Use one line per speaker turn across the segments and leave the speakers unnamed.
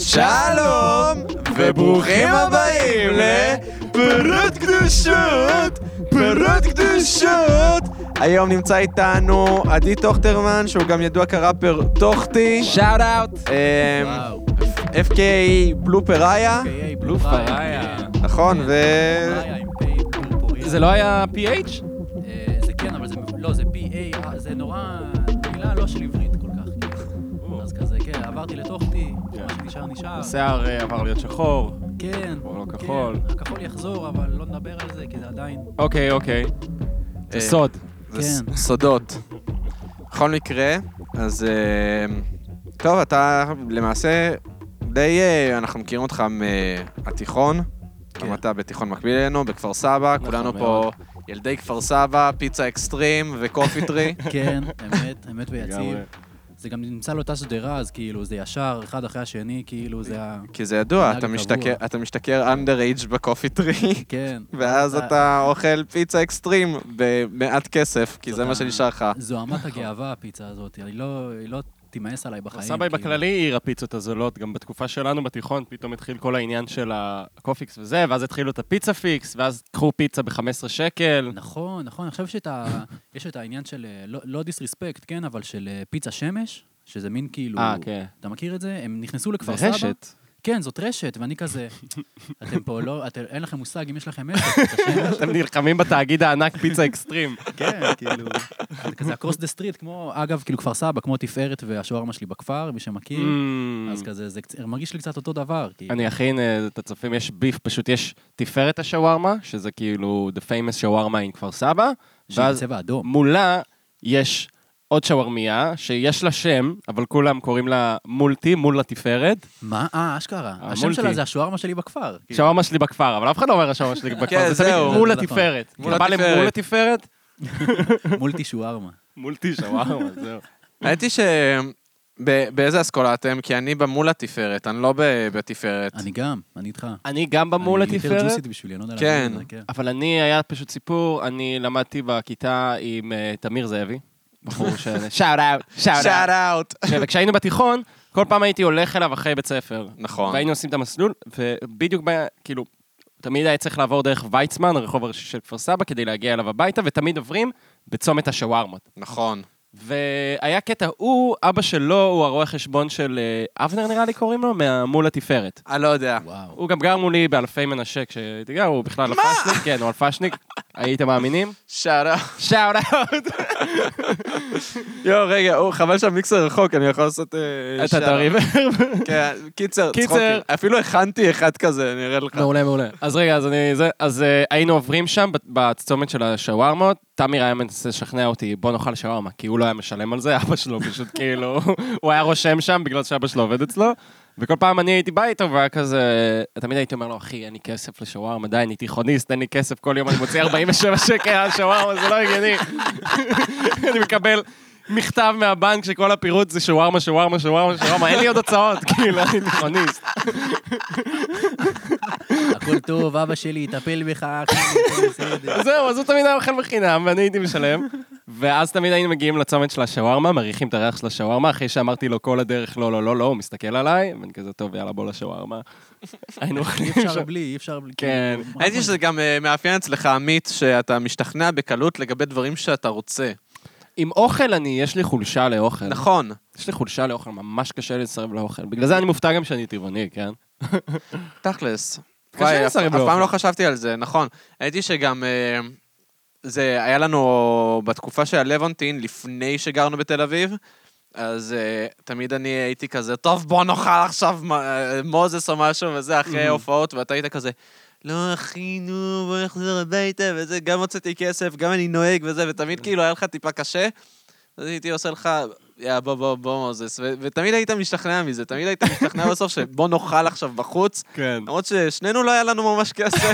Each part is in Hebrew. שלום, וברוכים הבאים לפירות קדושות, פירות קדושות. היום נמצא איתנו עדי טוכטרמן, שהוא גם ידוע כראפר טוכטי.
שאוט אאוט.
אמ,
וואו.
FKA בלופריה,
קיי,
בלו
אה,
פאיה.
נכון, ו...
פאיה עם פיי פוריה.
זה לא היה PH?
אה, זה כן, אבל זה... לא, זה PA, זה נורא... מילה לא של עברית כל כך. כאילו. אז כזה, כן, עברתי לתוכתי,
כן.
מה שנשאר נשאר.
השיער אה, עבר להיות שחור.
כן,
כבר לא
כן,
כחול.
הכחול יחזור, אבל לא נדבר על זה, כי זה עדיין...
אוקיי, אוקיי.
אה,
זה סוד.
זה ס-
כן.
סודות. בכל מקרה, אז... אמ, טוב, אתה למעשה די... אה, אנחנו מכירים אותך מהתיכון.
כן.
למדת בתיכון מקביל אלינו, בכפר סבא,
נכון
כולנו פה ילדי כפר סבא, פיצה אקסטרים וקופי טרי.
כן, אמת, אמת ויציב.
לגמרי.
זה גם נמצא לאותה שדרה, אז כאילו, זה ישר, אחד אחרי השני, כאילו, זה ה...
כי זה ידוע,
מנהג
אתה
קבוע.
משתכר, אתה משתכר underage בקופי טרי,
כן.
ואז אתה אוכל פיצה אקסטרים במעט כסף, כי זה מה שנשאר לך.
זו אמת הגאווה, הפיצה הזאת. אני לא... היא לא תימאס עליי בחיים.
סבאי
כאילו.
בכללי עיר הפיצות הזולות, גם בתקופה שלנו בתיכון פתאום התחיל כל העניין של הקופיקס וזה, ואז התחילו את הפיצה פיקס, ואז קחו פיצה ב-15 שקל.
נכון, נכון, אני חושב שאת ה... יש את העניין של, אה, לא- לא דיסריספקט, כן, אבל של אה, פיצה שמש, שזה מין כאילו...
אה, כן.
אתה מכיר את זה? הם נכנסו לכפר סבא.
ורשת.
כן, זאת רשת, ואני כזה, אתם פה לא, אתם, אין לכם מושג אם יש לכם עסק, פיצה שמש.
אתם נלחמים בתאגיד הענק פיצה אקסטרים.
כן, כאילו, זה כזה across the street, כמו, אגב, כאילו כפר סבא, כמו תפארת והשוארמה שלי בכפר, מי שמכיר,
Mm.
אז כזה, זה קצ- מרגיש לי קצת אותו דבר, כאילו.
אני אכין אה, את הצופים, יש ביף, פשוט יש תפארת השווארמה, שזה כאילו the famous שווארמה עם כפר סבא,
שהיא
ואז
בצבע אדום.
מולה יש עוד שווארמיה, שיש לה שם, אבל כולם קוראים לה מולטי, מול התפארת.
מה? אה, אשכרה. השם
המולטי.
שלה זה השוארמה שלי בכפר. כאילו.
שווארמה שלי בכפר, אבל אף אחד לא אומר השווארמה שלי
כן,
בכפר, זה תמיד
זהו.
מול
זה נכון.
התפארת.
מול
אתה בא
התפארת.
למול התפארת,
מולטי שוארמה.
מולטי שווארמה, זהו.
האמת היא ש... ב- באיזה אסכולה אתם? כי אני במול התפארת, אני לא ב- בתפארת.
אני גם, אני איתך.
אני גם במול
אני יותר
התפארת,
ג'וסית בשבילי, אני לא יודע
כן.
להגיד את זה, כן.
אבל אני, היה פשוט סיפור, אני למדתי בכיתה עם אה, תמיר זאבי. בחור ש... שאוט אאוט, שאוט
שאט
אאוט.
אאוט.
וכשהיינו בתיכון, כל פעם הייתי הולך אליו אחרי בית ספר.
נכון.
והיינו עושים את המסלול, ובדיוק, ב... כאילו, תמיד היה צריך לעבור דרך ויצמן, הרחוב הראשי של כפר סבא, כדי להגיע אליו הביתה, ותמיד עוברים בצומת השווארמות.
נכון.
והיה קטע, הוא, אבא שלו, הוא הרואה חשבון של אה, אבנר, נראה לי קוראים לו, מהמול התפארת.
אני לא יודע.
וואו.
הוא גם גר מולי באלפי מנשה כשהייתי גר, הוא בכלל אלפשניק, כן, הוא אלפשניק, הייתם מאמינים?
שאט אאוט.
שאוט אאוט.
יואו, רגע, או, חבל שהמיקסר רחוק, אני יכול לעשות... אה,
אתה
shout out.
דריבר?
כן, קיצר,
קיצר.
צחוקים. אפילו הכנתי אחד כזה, אני אראה לך.
לא,
מעולה, מעולה. אז רגע, אז אני... זה, אז אה, היינו עוברים שם בת- בצומת של השווארמות, תמיר היה מנסה לשכנע אותי, בוא נאכל שווארמה, כי הוא לא היה משלם על זה, אבא שלו פשוט כאילו, הוא היה רושם שם בגלל שאבא שלו עובד אצלו, וכל פעם אני הייתי בא איתו, והיה כזה... תמיד הייתי אומר לו, אחי, אין לי כסף לשווארמה, די, אני תיכוניסט, אין לי כסף, כל יום אני מוציא 47 שקל על שווארמה, זה לא הגיוני. אני מקבל... מכתב מהבנק שכל הפירוט זה שווארמה, שווארמה, שווארמה, שווארמה, אין לי עוד הוצאות, כאילו, אני תיכוניסט.
הכל טוב, אבא שלי יטפל בך, אחי, הכל בסדר.
אז זהו, אז הוא תמיד היה אוכל בחינם, ואני הייתי משלם. ואז תמיד היינו מגיעים לצומת של השווארמה, מריחים את הריח של השווארמה, אחרי שאמרתי לו כל הדרך לא, לא, לא, לא, הוא מסתכל עליי, ואני כזה, טוב, יאללה, בוא לשווארמה. היינו
אי
אוכלים
אפשר
שם.
בלי, אי אפשר בלי.
כן.
כאילו, מה-
האמת היא שזה גם אה, מאפיין אצלך, עמית, שאתה משתכנע בקלות לגבי דברים שאתה רוצה.
עם אוכל אני, יש לי חולשה לאוכל.
כן.
נכון.
יש לי חולשה לאוכל, ממש קשה לי לסרב לאוכל. בגלל זה אני מופתע גם שאני טבעוני, כן?
תכלס.
קשה
וואי, אף
לסרב
אף
לאוכל.
פעם לא חשבתי על זה, נכון. הייתי שגם... אה, זה היה לנו בתקופה של הלוונטין, לפני שגרנו בתל אביב, אז אה, תמיד אני הייתי כזה, טוב, בוא נאכל עכשיו מ- אה, מוזס או משהו וזה, אחרי
Mm-hmm.
הופעות, ואתה היית כזה, לא, אחי, נו, בוא נחזור הביתה וזה, גם הוצאתי כסף, גם אני נוהג וזה,
Mm-hmm.
ותמיד כאילו היה לך טיפה קשה. אז הייתי עושה לך, יא, בוא, בוא, בוא, מוזס, ו- ותמיד היית משתכנע מזה, תמיד היית משתכנע בסוף שבוא נאכל עכשיו בחוץ,
כן.
למרות ששנינו לא היה לנו ממש כסף.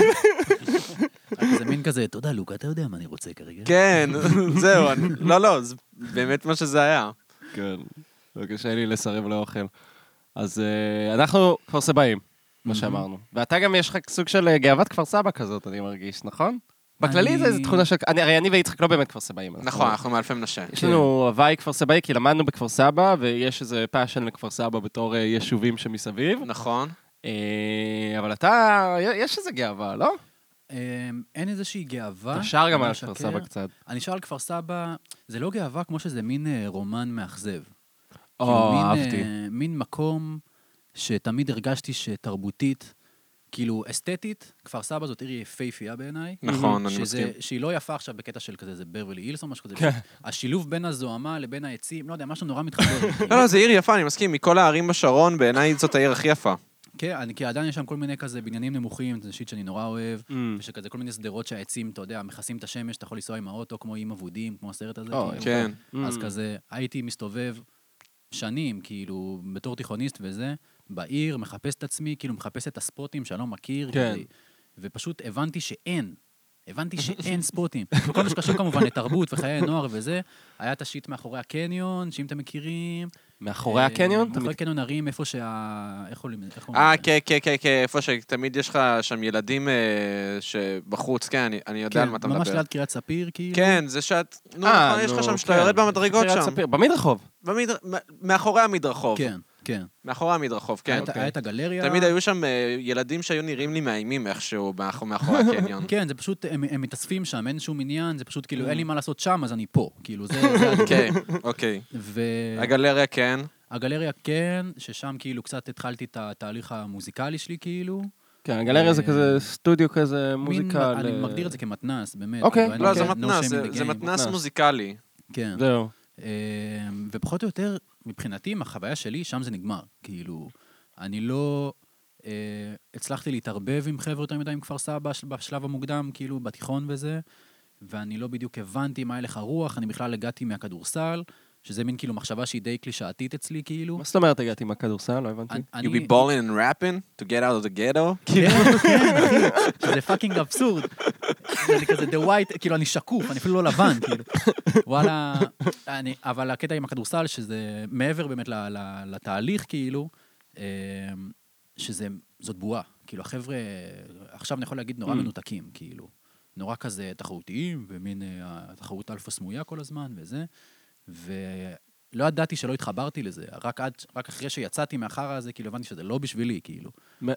זה מין כזה, תודה, לוקה, אתה יודע מה אני רוצה כרגע.
כן, זהו, אני- לא, לא, זה באמת מה שזה היה.
כן. לא קשה לי לסרב לאוכל. אז אה, אנחנו כפר סבאים, כמו שאמרנו. ואתה גם, יש לך סוג של אה, גאוות כפר סבא כזאת, אני מרגיש, נכון? בכללי זה
אני-
איזו תכונה של... אני- הרי אני ויצחק לא באמת כפר סבאים. אז-
נכון, אנחנו מאלפי מנשה.
יש
כן.
לנו הוואי כפר סבאי, כי למדנו בכפר סבא, ויש איזה פאשן לכפר סבא בתור אה, יישובים שמסביב.
נכון.
אה, אבל אתה, יש איזה גאווה, לא?
אמ, אין איזושהי גאווה.
אתה שר גם
אני לא
על כפר
אשקר.
סבא קצת.
אני שר על כפר סבא, זה לא גאווה כמו שזה מין אה, רומן מאכזב. כאילו,
או,
מין,
אהבתי.
אה, מין מקום שתמיד הרגשתי שתרבותית, כאילו אסתטית, כפר סבא זאת עיר יפהפייה בעיניי.
נכון, אני
שזה-
מסכים.
שהיא לא יפה עכשיו בקטע של כזה, זה ברווילי הילס או משהו כזה.
כן.
השילוב בין הזוהמה לבין העצים, לא יודע, משהו נורא מתחבר. כאילו.
לא, לא, זה עיר יפה, אני מסכים. מכל הערים בשרון, בעיניי זאת העיר הכי יפה.
כן, אני- כי עדיין יש שם כל מיני כזה בניינים נמוכים, זה שיט שאני נורא אוהב.
אמ,
ושכזה כל מיני שדרות שהעצים, אתה יודע, מכסים את השמש, אתה יכול לנסוע עם האוטו כמו איים אבודים, כמו הסרט הזה.
או,
כאילו.
יפה.
כן.
אז
אמ.
כזה, הייתי מסתובב שנים, כאילו, בתור תיכוניסט וזה, בעיר, מחפש את עצמי, כאילו, מחפש את הספוטים שאני לא מכיר.
כן.
כדי- ופשוט הבנתי שאין. הבנתי שאין ספוטים. וכל מה שקשור כמובן לתרבות וחיי נוער וזה, היה את השיט מאחורי הקניון, שאם אתם מכירים.
מאחורי
אה,
הקניון? אתה
מאחורי
מת-
קניון הרים, איפה שה... איך קוראים לזה? איך קוראים
אה,
לזה?
כן, כן, כן, כן, איפה שתמיד יש לך שם ילדים אה, שבחוץ, כן, אני- אני יודע על מה אתה
ממש
מדבר.
ליד קריית ספיר, כאילו.
כן, זה שאת... נו,
אה,
נכון, יש לך
נו,
שם, שאתה
כן.
יורד במדרגות
קריית
שם.
ספיר, במדרחוב.
במדר- מ- מאחורי המדרחוב.
כן, כן.
מאחורי המדרחוב,
היה
כן.
את- היה את הגלריה.
תמיד היו שם אה, ילדים שהיו נראים לי מאיימים איכשהו מאח- מאחורי הקניון.
כן, זה פשוט, הם, הם מתאספים שם, אין שום עניין, זה פשוט כאילו, אין
Mm.
לי מה לעשות שם, אז אני פה. כאילו, זה... זה הדבר.
אוקיי, אוקיי. הגלריה כן.
והגלריה כן, ששם כאילו קצת התחלתי את התהליך המוזיקלי שלי, כאילו.
כן, הגלריה זה
אה,
כזה סטודיו כזה,
מין-
מוזיקה.
אני
ל-
מגדיר את זה כמתנס, באמת.
אה, אוקיי.
כאילו, אין
לא,
לי-
זה
no
מתנ"ס,
shame
זה-
in the
זה
game.
מתנ"ס
מתנ"ס.
מוזיקלי.
כן.
זהו.
אמ, ופחות או יותר, מבחינתי, עם החוויה שלי, שם זה נגמר. כאילו, אני לא אה, הצלחתי להתערבב עם חבר'ה יותר מדי עם כפר סבא של- בשלב המוקדם, כאילו, בתיכון וזה, ואני לא בדיוק הבנתי מה הלך הרוח, אני בכלל הגעתי מהכדורסל, שזה מין כאילו מחשבה שהיא די קלישאתית אצלי, כאילו.
מה זאת אומרת הגעתי מהכדורסל? לא הבנתי.
אני-
You
אני-
be balling and rapping to get out of the ghetto?
כן, כן, אחי, זה פאקינג אבסורד. אני כזה דה ווייט, כאילו, אני שקוף, אני אפילו לא לבן, כאילו. וואלה, אני, אבל הקטע עם הכדורסל, שזה מעבר באמת ל- ל- לתהליך, כאילו, אמ, שזה, זאת בועה. כאילו, החבר'ה, עכשיו אני יכול להגיד נורא
Mm.
מנותקים, כאילו. נורא כזה תחרותיים, ומין אה, התחרות אלפא סמויה כל הזמן, וזה. ולא ידעתי שלא התחברתי לזה, רק, עד, רק אחרי שיצאתי מהחרא הזה, כאילו, הבנתי שזה לא בשבילי, כאילו.
מה-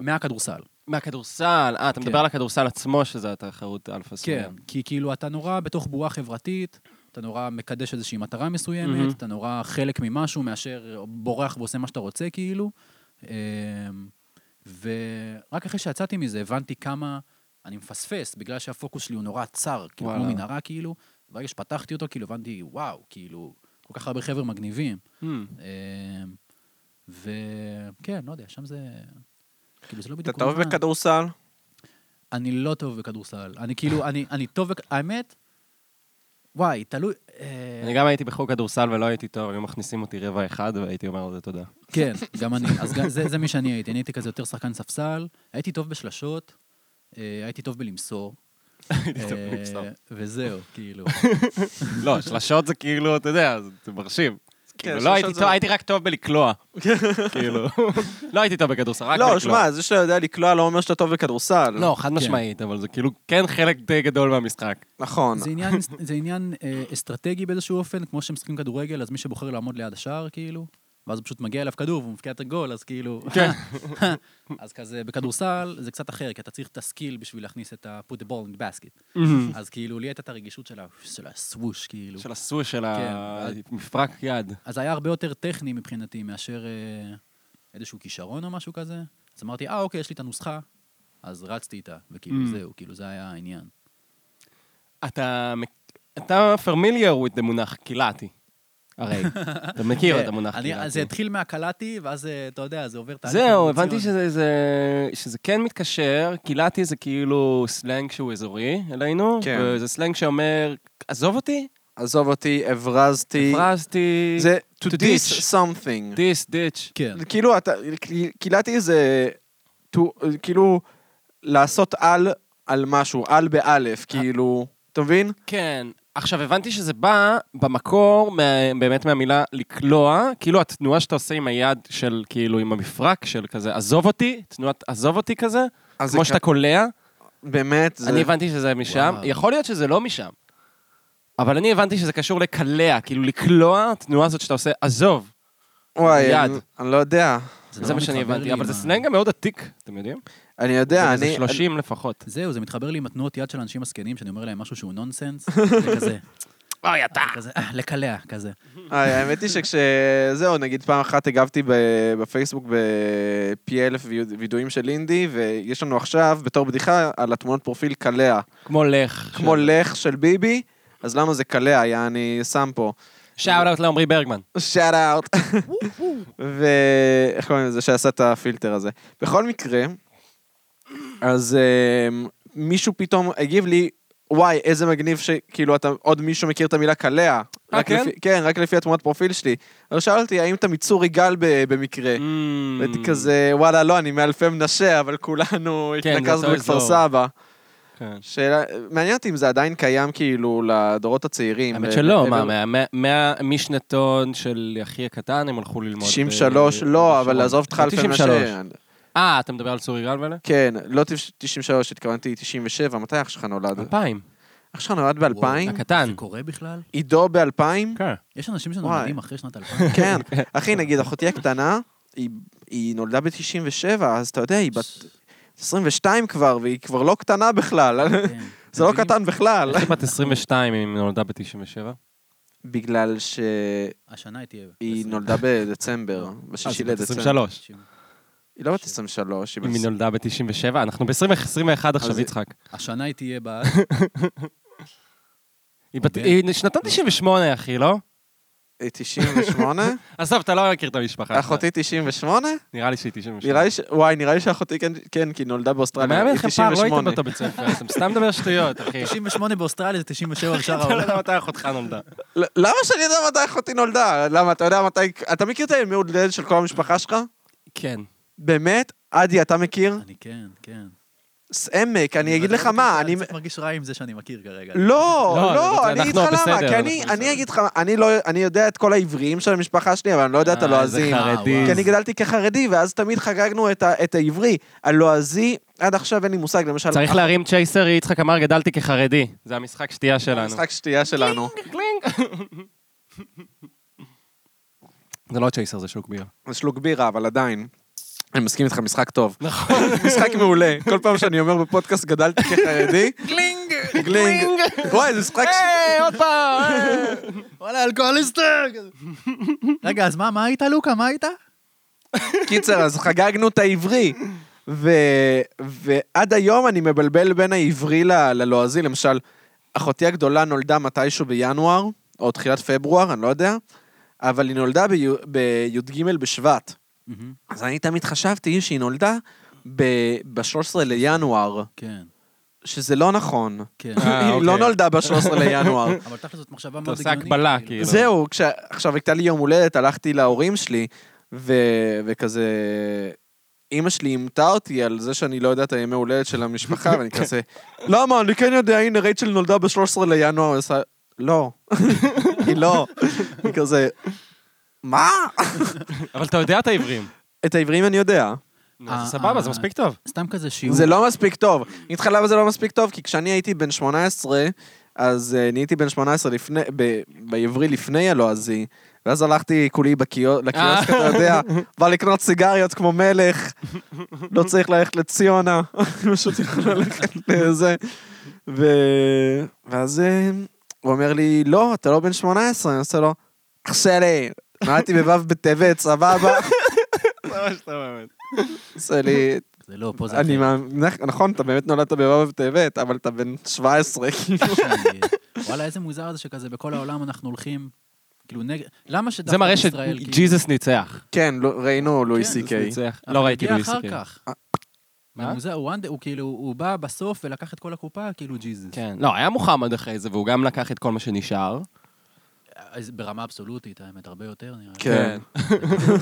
מהכדורסל.
מהכדורסל, אה, אתה
כן.
מדבר על הכדורסל עצמו, שזה התחרות אלפא
כן,
סמיה.
כי כאילו אתה נורא בתוך בועה חברתית, אתה נורא מקדש איזושהי מטרה מסוימת,
מהמם.
אתה נורא חלק ממשהו מאשר בורח ועושה מה שאתה רוצה, כאילו. אמ, ורק אחרי שיצאתי מזה, הבנתי כמה אני מפספס, בגלל שהפוקוס שלי הוא נורא צר, כאילו, כמו
וואלה.
מנהרה, כאילו. ברגע שפתחתי אותו, כאילו, הבנתי, וואו, כאילו, כל כך הרבה חבר'ה מגניבים.
אמ,
אמ, וכן, לא יודע, שם זה... כאילו, זה לא
אתה
בדיוק...
טוב
רומן.
בכדורסל?
אני לא טוב בכדורסל. אני כאילו, אני, אני טוב, בכ- האמת, וואי, תלוי... אה,
אני גם הייתי בחוג כדורסל ולא הייתי טוב, היו מכניסים אותי רבע אחד והייתי אומר על זה תודה.
כן, גם אני. אז גם- זה, זה מי שאני הייתי. אני הייתי כזה יותר שחקן ספסל, הייתי טוב בשלשות, אה, הייתי טוב בלמסור. הייתי
טוב בלמסור.
אה. וזהו, כאילו.
לא, שלשות זה כאילו, אתה יודע, זה- זה מרשים.
כן,
כאילו, לא
שלשות
הייתי
זה-
טוב, הייתי רק טוב בלקלוע. כאילו, לא הייתי טוב בכדורסל, רק בלקלוע.
לא, שמע, זה שאתה יודע לקלוע לא אומר שאתה טוב בכדורסל.
לא,
כן.
חד משמעית, אבל זה כאילו כן חלק די גדול מהמשחק.
נכון.
זה עניין, זה עניין אה, אסטרטגי באיזשהו אופן, כמו שהם משחקים כדורגל, אז מי שבוחר לעמוד ליד השער, כאילו, ואז הוא פשוט מגיע אליו כדור והוא מבקיע את הגול, אז כאילו...
כן.
אז כזה, בכדורסל זה קצת אחר, כי אתה צריך את הסקיל בשביל להכניס את ה- put the ball in the basket. אז כאילו, לי הייתה את הרגישות של ה- של הסווש, כאילו.
של הסוש, של
כן.
המפרק יד.
אז היה הרבה יותר טכני מבחינתי מאשר אה, איזשהו כישרון או משהו כזה. אז אמרתי, אה, אוקיי, יש לי את הנוסחה, אז רצתי איתה, וכאילו
Mm.
זהו, כאילו זה היה העניין.
אתה מק- אתה familiar with the מונח קילעתי. הרי, אתה מכיר את
כן,
המונח
אני-
קילעתי.
זה התחיל מהקלטי, ואז אה, אתה יודע, זה עובר תהליך.
זהו,
אבולוציוני.
הבנתי שזה, זה, שזה כן מתקשר, קילעתי זה כאילו סלנג שהוא אזורי אלינו,
כן.
וזה סלנג שאומר, עזוב אותי,
עזוב אותי, הברזתי.
הפרזתי,
זה to
To
diss
dish.
something.
דיס, דיץ'.
כן,
כאילו, אתה, קילעתי זה to- כאילו לעשות על על משהו, על באלף, כאילו, אתה מבין?
כן. עכשיו, הבנתי שזה בא במקור מה, באמת מהמילה לקלוע, כאילו התנועה שאתה עושה עם היד של, כאילו, עם המפרק של כזה, עזוב אותי, תנועת עזוב אותי כזה,
אז זה
כמו שאתה
כ-
קולע,
באמת, זה...
אני הבנתי שזה משם,
וואו.
יכול להיות שזה לא משם. אבל אני הבנתי שזה קשור לקלע, כאילו לקלוע, התנועה הזאת שאתה עושה, עזוב,
וואי, אני-
יד.
אני לא יודע.
זה מה שאני הבנתי, אבל זה סלנג גם מאוד עתיק, אתם יודעים?
אני יודע,
זה
אני...
30 לפחות.
זהו, זה מתחבר לי עם התנועות יד של האנשים הזקנים, שאני אומר להם משהו שהוא נונסנס, זה כזה,
אוי, אתה! כן.
כזה, "אה, לקלע, כזה.
אה, האמת היא שכש... זהו, נגיד פעם אחת הגבתי ב- בפייסבוק בפי אלף וידו- וידועים של אינדי, ויש לנו עכשיו, בתור בדיחה, על התמונות פרופיל קלע.
כמו לך.
כמו לך של ביבי, אז לנו זה קלע, יא, אני שם פה.
שאוט אאוט לעמרי ברגמן.
שאט אאוט. ואיך קוראים לזה שעשה את הפילטר הזה. בכל מקרה, אז אמ, מישהו פתאום הגיב לי, וואי, איזה מגניב שכאילו אתה, עוד מישהו מכיר את המילה קלע.
אה,
רק
כן?
לפי- כן, רק לפי התמונת פרופיל שלי. אז שאל אותי, האם אתה מצור יגאל ב- במקרה?
Mm.
הייתי כזה, וואלה, לא, אני מאלפי מנשה, אבל כולנו
כן, זה
התנקזנו
אותו
לכפר
אזור.
סבא.
כן.
שאלה, מעניין אותי אם זה עדיין קיים כאילו לדורות הצעירים.
האמת
ו-
שלא,
ו-
מה, מה- מה- מה- משנתון של אחי הקטן הם הלכו ללמוד. אה, ב-
93, לא, אבל
בשרון.
עזוב אותך
לא,
אלפי
93.
מנשה.
אה, אתה מדבר על צור יגאל ואלה?
כן, לא 93, התכוונתי 97, מתי אח שלך נולד?
2000.
אח שלך נולד ב-2000?
הקטן.
זה קורה בכלל?
עידו ב-2000?
כן.
יש אנשים
וואי.
שנולדים אחרי שנת 2000.
כן. אחי, נגיד, אחותי הקטנה, היא- היא נולדה ב-97, אז אתה יודע, היא בת 22 כבר, והיא כבר לא קטנה בכלל.
כן.
זה לא
מבינים?
קטן בכלל.
איך היא בת 22 אם היא נולדה ב-97?
בגלל שהיא
השנה היא תהיה...
נולדה בדצמבר,
אה,
בשישי לדצמבר.
23.
היא לא בת 23, היא
אם היא
בת...
נולדה ב-97, אנחנו ב-2021
אז
עכשיו,
היא-
יצחק.
השנה היא תהיה אוקיי. ב...
היא בת-
בין.
היא שנתון
אוקיי.
98, אחי, לא?
אה, 98?
עזוב, אתה לא מכיר את המשפחה. שלך.
אחותי 98?
נראה לי שהיא 98.
נראה לי ש... וואי, נראה לי שאחותי כן, כן, כי היא נולדה באוסטרליה.
מה היה
היא
בינכם פער? לא
98.
הייתם באותו בית ספר, אתם סתם מדבר שטויות, אחי.
98 באוסטרליה זה 97 בשאר
אתה לא
העולם.
יודע מתי אחותך נולדה.
ל- למה שאני יודע מתי אחותי נולדה? למה, אתה יודע מתי... אתה מכיר את הימי הולדת של כל המשפחה שלך?
כן.
באמת? עדי, אתה מכיר?
אני כן, כן. לא
סעמק, אני אגיד לך מה, אני...
אני קצת מרגיש רע עם זה שאני מכיר כרגע.
לא,
לא,
לא,
זה-
אני אגיד לך
אנחנו
למה,
בסדר,
כי אני-
אנחנו
אני
בסדר.
אגיד לך, אני לא, אני יודע את כל העבריים של המשפחה שלי, אבל אני לא יודע את הלועזים.
אה,
חרא.
איזה חרדי.
כי אני גדלתי כחרדי, ואז תמיד חגגנו את ה- את העברי. הלועזי, עד עכשיו אין לי מושג, למשל...
לא-
צריך להרים צ'ייסר, יצחק אמר, גדלתי כחרדי. זה המשחק שתייה שלנו.
משחק שתייה שלנו.
קלינג. זה לא צ'ייסר, זה שוק בירה.
זה שלוק בירה, אבל עדיין. אני מסכים איתך, משחק טוב.
נכון.
משחק מעולה. כל פעם שאני אומר בפודקאסט גדלתי כחרדי,
קלינג!
גלינג. וואי, זה משחק ש...
היי, עוד פעם!
וואלה, אלכוהוליסטר! רגע, אז מה, מה היית, לוקה? מה היית?
קיצר, אז חגגנו את העברי. ו- ועד היום אני מבלבל בין העברי ל- ללועזי. למשל, אחותי הגדולה נולדה מתישהו בינואר, או תחילת פברואר, אני לא יודע, אבל היא נולדה ביו- בי"ג בשבט. אז אני תמיד חשבתי שהיא נולדה ב-13 לינואר,
כן,
שזה לא נכון.
כן.
אה,
היא לא
אוקיי.
נולדה ב-13 לינואר.
אבל תכל'ס זאת מחשבה
אתה
מאוד
עושה
הגיונית.
הקבלה,
כאילו.
כאילו.
זהו, כש... עכשיו הייתה לי יום הולדת, הלכתי להורים שלי, ו... וכזה... אימא שלי אימתה אותי על זה שאני לא יודע את הימי הולדת של המשפחה, ואני כזה, למה? אני כן יודע, הנה, רייצ'ל נולדה ב-13 לינואר, היא עושה, לא. היא לא. היא כזה, מה?
אבל אתה יודע את העברים.
את העברים אני יודע.
נו,
אה,
אז זה סבבה, זה מספיק טוב.
סתם כזה שיעור.
זה לא מספיק טוב. אני אגיד לך למה זה לא מספיק טוב, כי כשאני הייתי בן 18, אז אה, נהייתי בן 18 לפני, ב- בעברי לפני הלועזי, ואז הלכתי כולי בקיו- לקיוסק, אתה יודע, בא לקנות סיגריות כמו מלך, לא צריך ללכת לציונה, אני פשוט יכול ללכת לזה. ו... ואז אה, הוא אומר לי, לא, אתה לא בן 18, אני עושה לו, אח שלי, נולדתי בו' בטבת, סבבה. עושה לי,
זה לא, פה זה...
אני
אחרת.
מאמין, נכון, אתה באמת נולדת בו' בטבת, אבל אתה בן 17, כאילו.
שאני- וואלה, איזה מוזר זה שכזה בכל העולם אנחנו הולכים... כאילו נגד... למה שדווקא
זה מראה
בישראל, כאילו-
שג'יזוס ניצח.
כן, לא- ראינו לואי סי קיי.
ניצח.
אבל
לא ראיתי
הגיע
לואי סי קיי.
אחר כך.
מה?
מה? הוא וונד- הוא כאילו, הוא בא בסוף ולקח את כל הקופה, כאילו ג'יזוס.
כן. לא, היה מוחמד אחרי זה, והוא גם לקח את כל מה שנשאר.
אז אה, ברמה אבסולוטית, האמת, הרבה יותר נראה לי.
כן.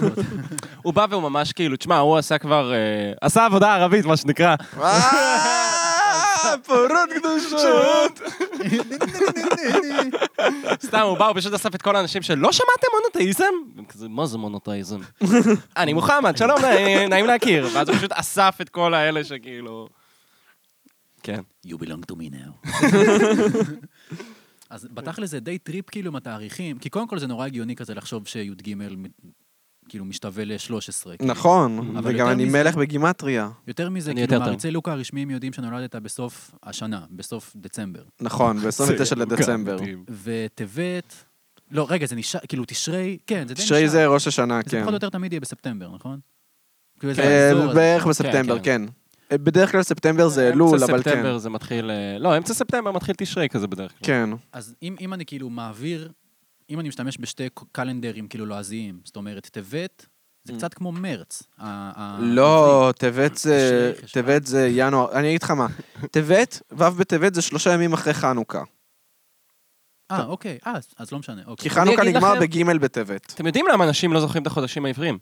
הוא בא והוא ממש כאילו, תשמע, הוא עשה כבר... אה, עשה עבודה ערבית, מה שנקרא.
כן. אה, פרות קדושות!
סתם, הוא בא, הוא פשוט אסף את כל האנשים שלא שמעתם מונותאיזם? והם כזה, מה זה מונותאיזם? אני מוחמד, שלום, נעים- נעים להכיר. ואז הוא פשוט אסף את כל האלה שכאילו... כן.
You belong to me now. אז בתכל'ס זה די טריפ כאילו עם התאריכים, כי קודם כל זה נורא הגיוני כזה לחשוב שי"ג מ- כאילו משתווה ל-13.
נכון,
אבל
וגם
יותר
אני
מזה-
מלך בגימטריה.
יותר מזה,
אני
כאילו
יותר טוב.
מעריצי לוקה הרשמיים יודעים שנולדת בסוף השנה, בסוף דצמבר.
נכון, ב-29
כן,
לדצמבר.
וטבת, לא, רגע, זה נשאר, כאילו תשרי, כן, זה די נשאר.
תשרי זה ראש השנה,
זה
כן.
פחות או יותר תמיד יהיה בספטמבר, נכון? כאילו זה
אה,
האזור הזה.
בערך בספטמבר,
כן,
כן. אה, בדרך כלל ספטמבר זה
אמצע
אלול, אבל כן.
ספטמבר זה מתחיל... אה, לא, אמצע ספטמבר מתחיל תשרי כזה בדרך כלל.
כן.
אז אם, אם אני כאילו מעביר, אם אני משתמש בשתי ק- קלנדרים כאילו לועזיים, זאת אומרת, טבת, זה
Mm.
קצת כמו מרץ. ה- ה-
אה,
העברי.
אוקיי.
לא, טבת זה,
תשרי, חשוון.
טבת זה ינואר, אני אגיד לך מה, טבת, ו' בטבת זה שלושה ימים אחרי חנוכה.
אה, אוקיי, אה, אז- אז לא משנה,
כי
אוקיי.
חנוכה
אגיד
נגמר
לכם-
בג' בטבת.
אתם יודעים למה אנשים לא זוכרים את החודשים העבריים?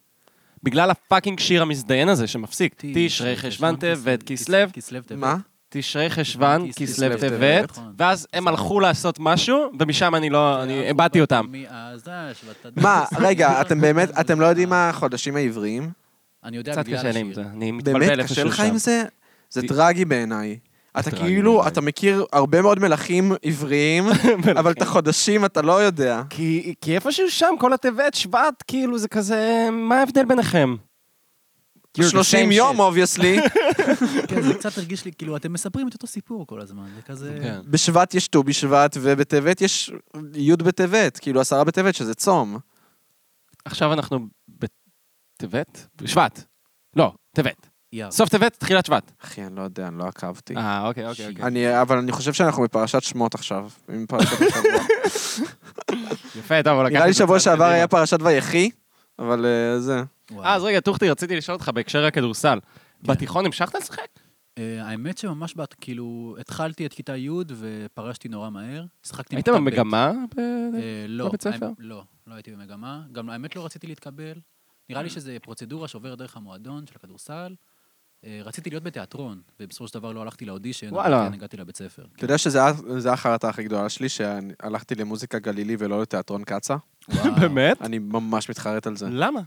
בגלל הפאקינג שיר המזדיין הזה שמפסיק. תשרי חשוון טבת כסלו,
כסלו טבת.
מה?
תשרי חשוון
כסלו,
כסלו
טבת.
טבת,
נכון.
ואז הם הלכו לעשות משהו, ומשם אני לא... אני הבעתי אותם.
מאז דש, ואתה-
מה, רגע, אתם באמת, אתם לא יודעים מה החודשים העבריים?
אני יודע
קצת
בגלל
קשה לי עם
השיר.
זה, אני מתבלבל
באמת קשה
איפשהו
לך
שם.
עם זה? זה
ת-
טרגי בעיניי. אתה
טרגי
כאילו,
בעיניי.
אתה מכיר הרבה מאוד מלכים עבריים, אבל את החודשים אתה לא יודע.
כי, כי איפשהו שם, כל הטבת, שבט, כאילו, זה כזה, מה ההבדל ביניכם? You're כאילו, the
30
same
יום,
shit.
אובייסלי.
כן, זה קצת הרגיש לי, כאילו, אתם מספרים את אותו סיפור כל הזמן, זה כזה...
כן.
בשבט יש ט"ו בשבט, ובטבת יש י' בטבת, כאילו עשרה בטבת, שזה צום.
עכשיו אנחנו בטבת? בשבט. לא, טבת.
יאו.
סוף טבת, תחילת שבט.
אחי, אני לא יודע, אני לא עקבתי.
אה, אוקיי, אוקיי,
שיט.
אוקיי.
אני, אבל אני חושב שאנחנו בפרשת שמות עכשיו. עם פרשת השבוע.
אוקיי. יפה, טוב, אבל לקחתי
נראה לי
את זה
שבוע
צעד
שעבר
קדימה.
היה פרשת ויחי, אבל אה, זה.
וואו.
אה, אז רגע, טוחטי, רציתי לשאול אותך בהקשר הכדורסל. בתיכון המשכת לשחק?
אה, האמת שממש בת, כאילו, התחלתי את כיתה י' ופרשתי נורא מהר. שיחקתי
הייתם
בכיתה ב'.
במגמה? ב-
אה, לא,
בבית ספר?
האמת- לא, לא הייתי במגמה. גם האמת לא רציתי להתקבל. נראה
אה.
לי שזו פרוצדורה שעוברת דרך המועדון של הכדורסל. אה, רציתי להיות בתיאטרון, ובסופו של דבר לא הלכתי לאודישן,
וואלה.
אבל כן הגעתי לבית ספר.
אתה יודע שזה זה החרטה הכי גדולה שלי, שהלכתי למוזיקה גלילי ולא לתיאטרון קצא?
וואו.
באמת?
אני ממש מתחרט על זה.
למה?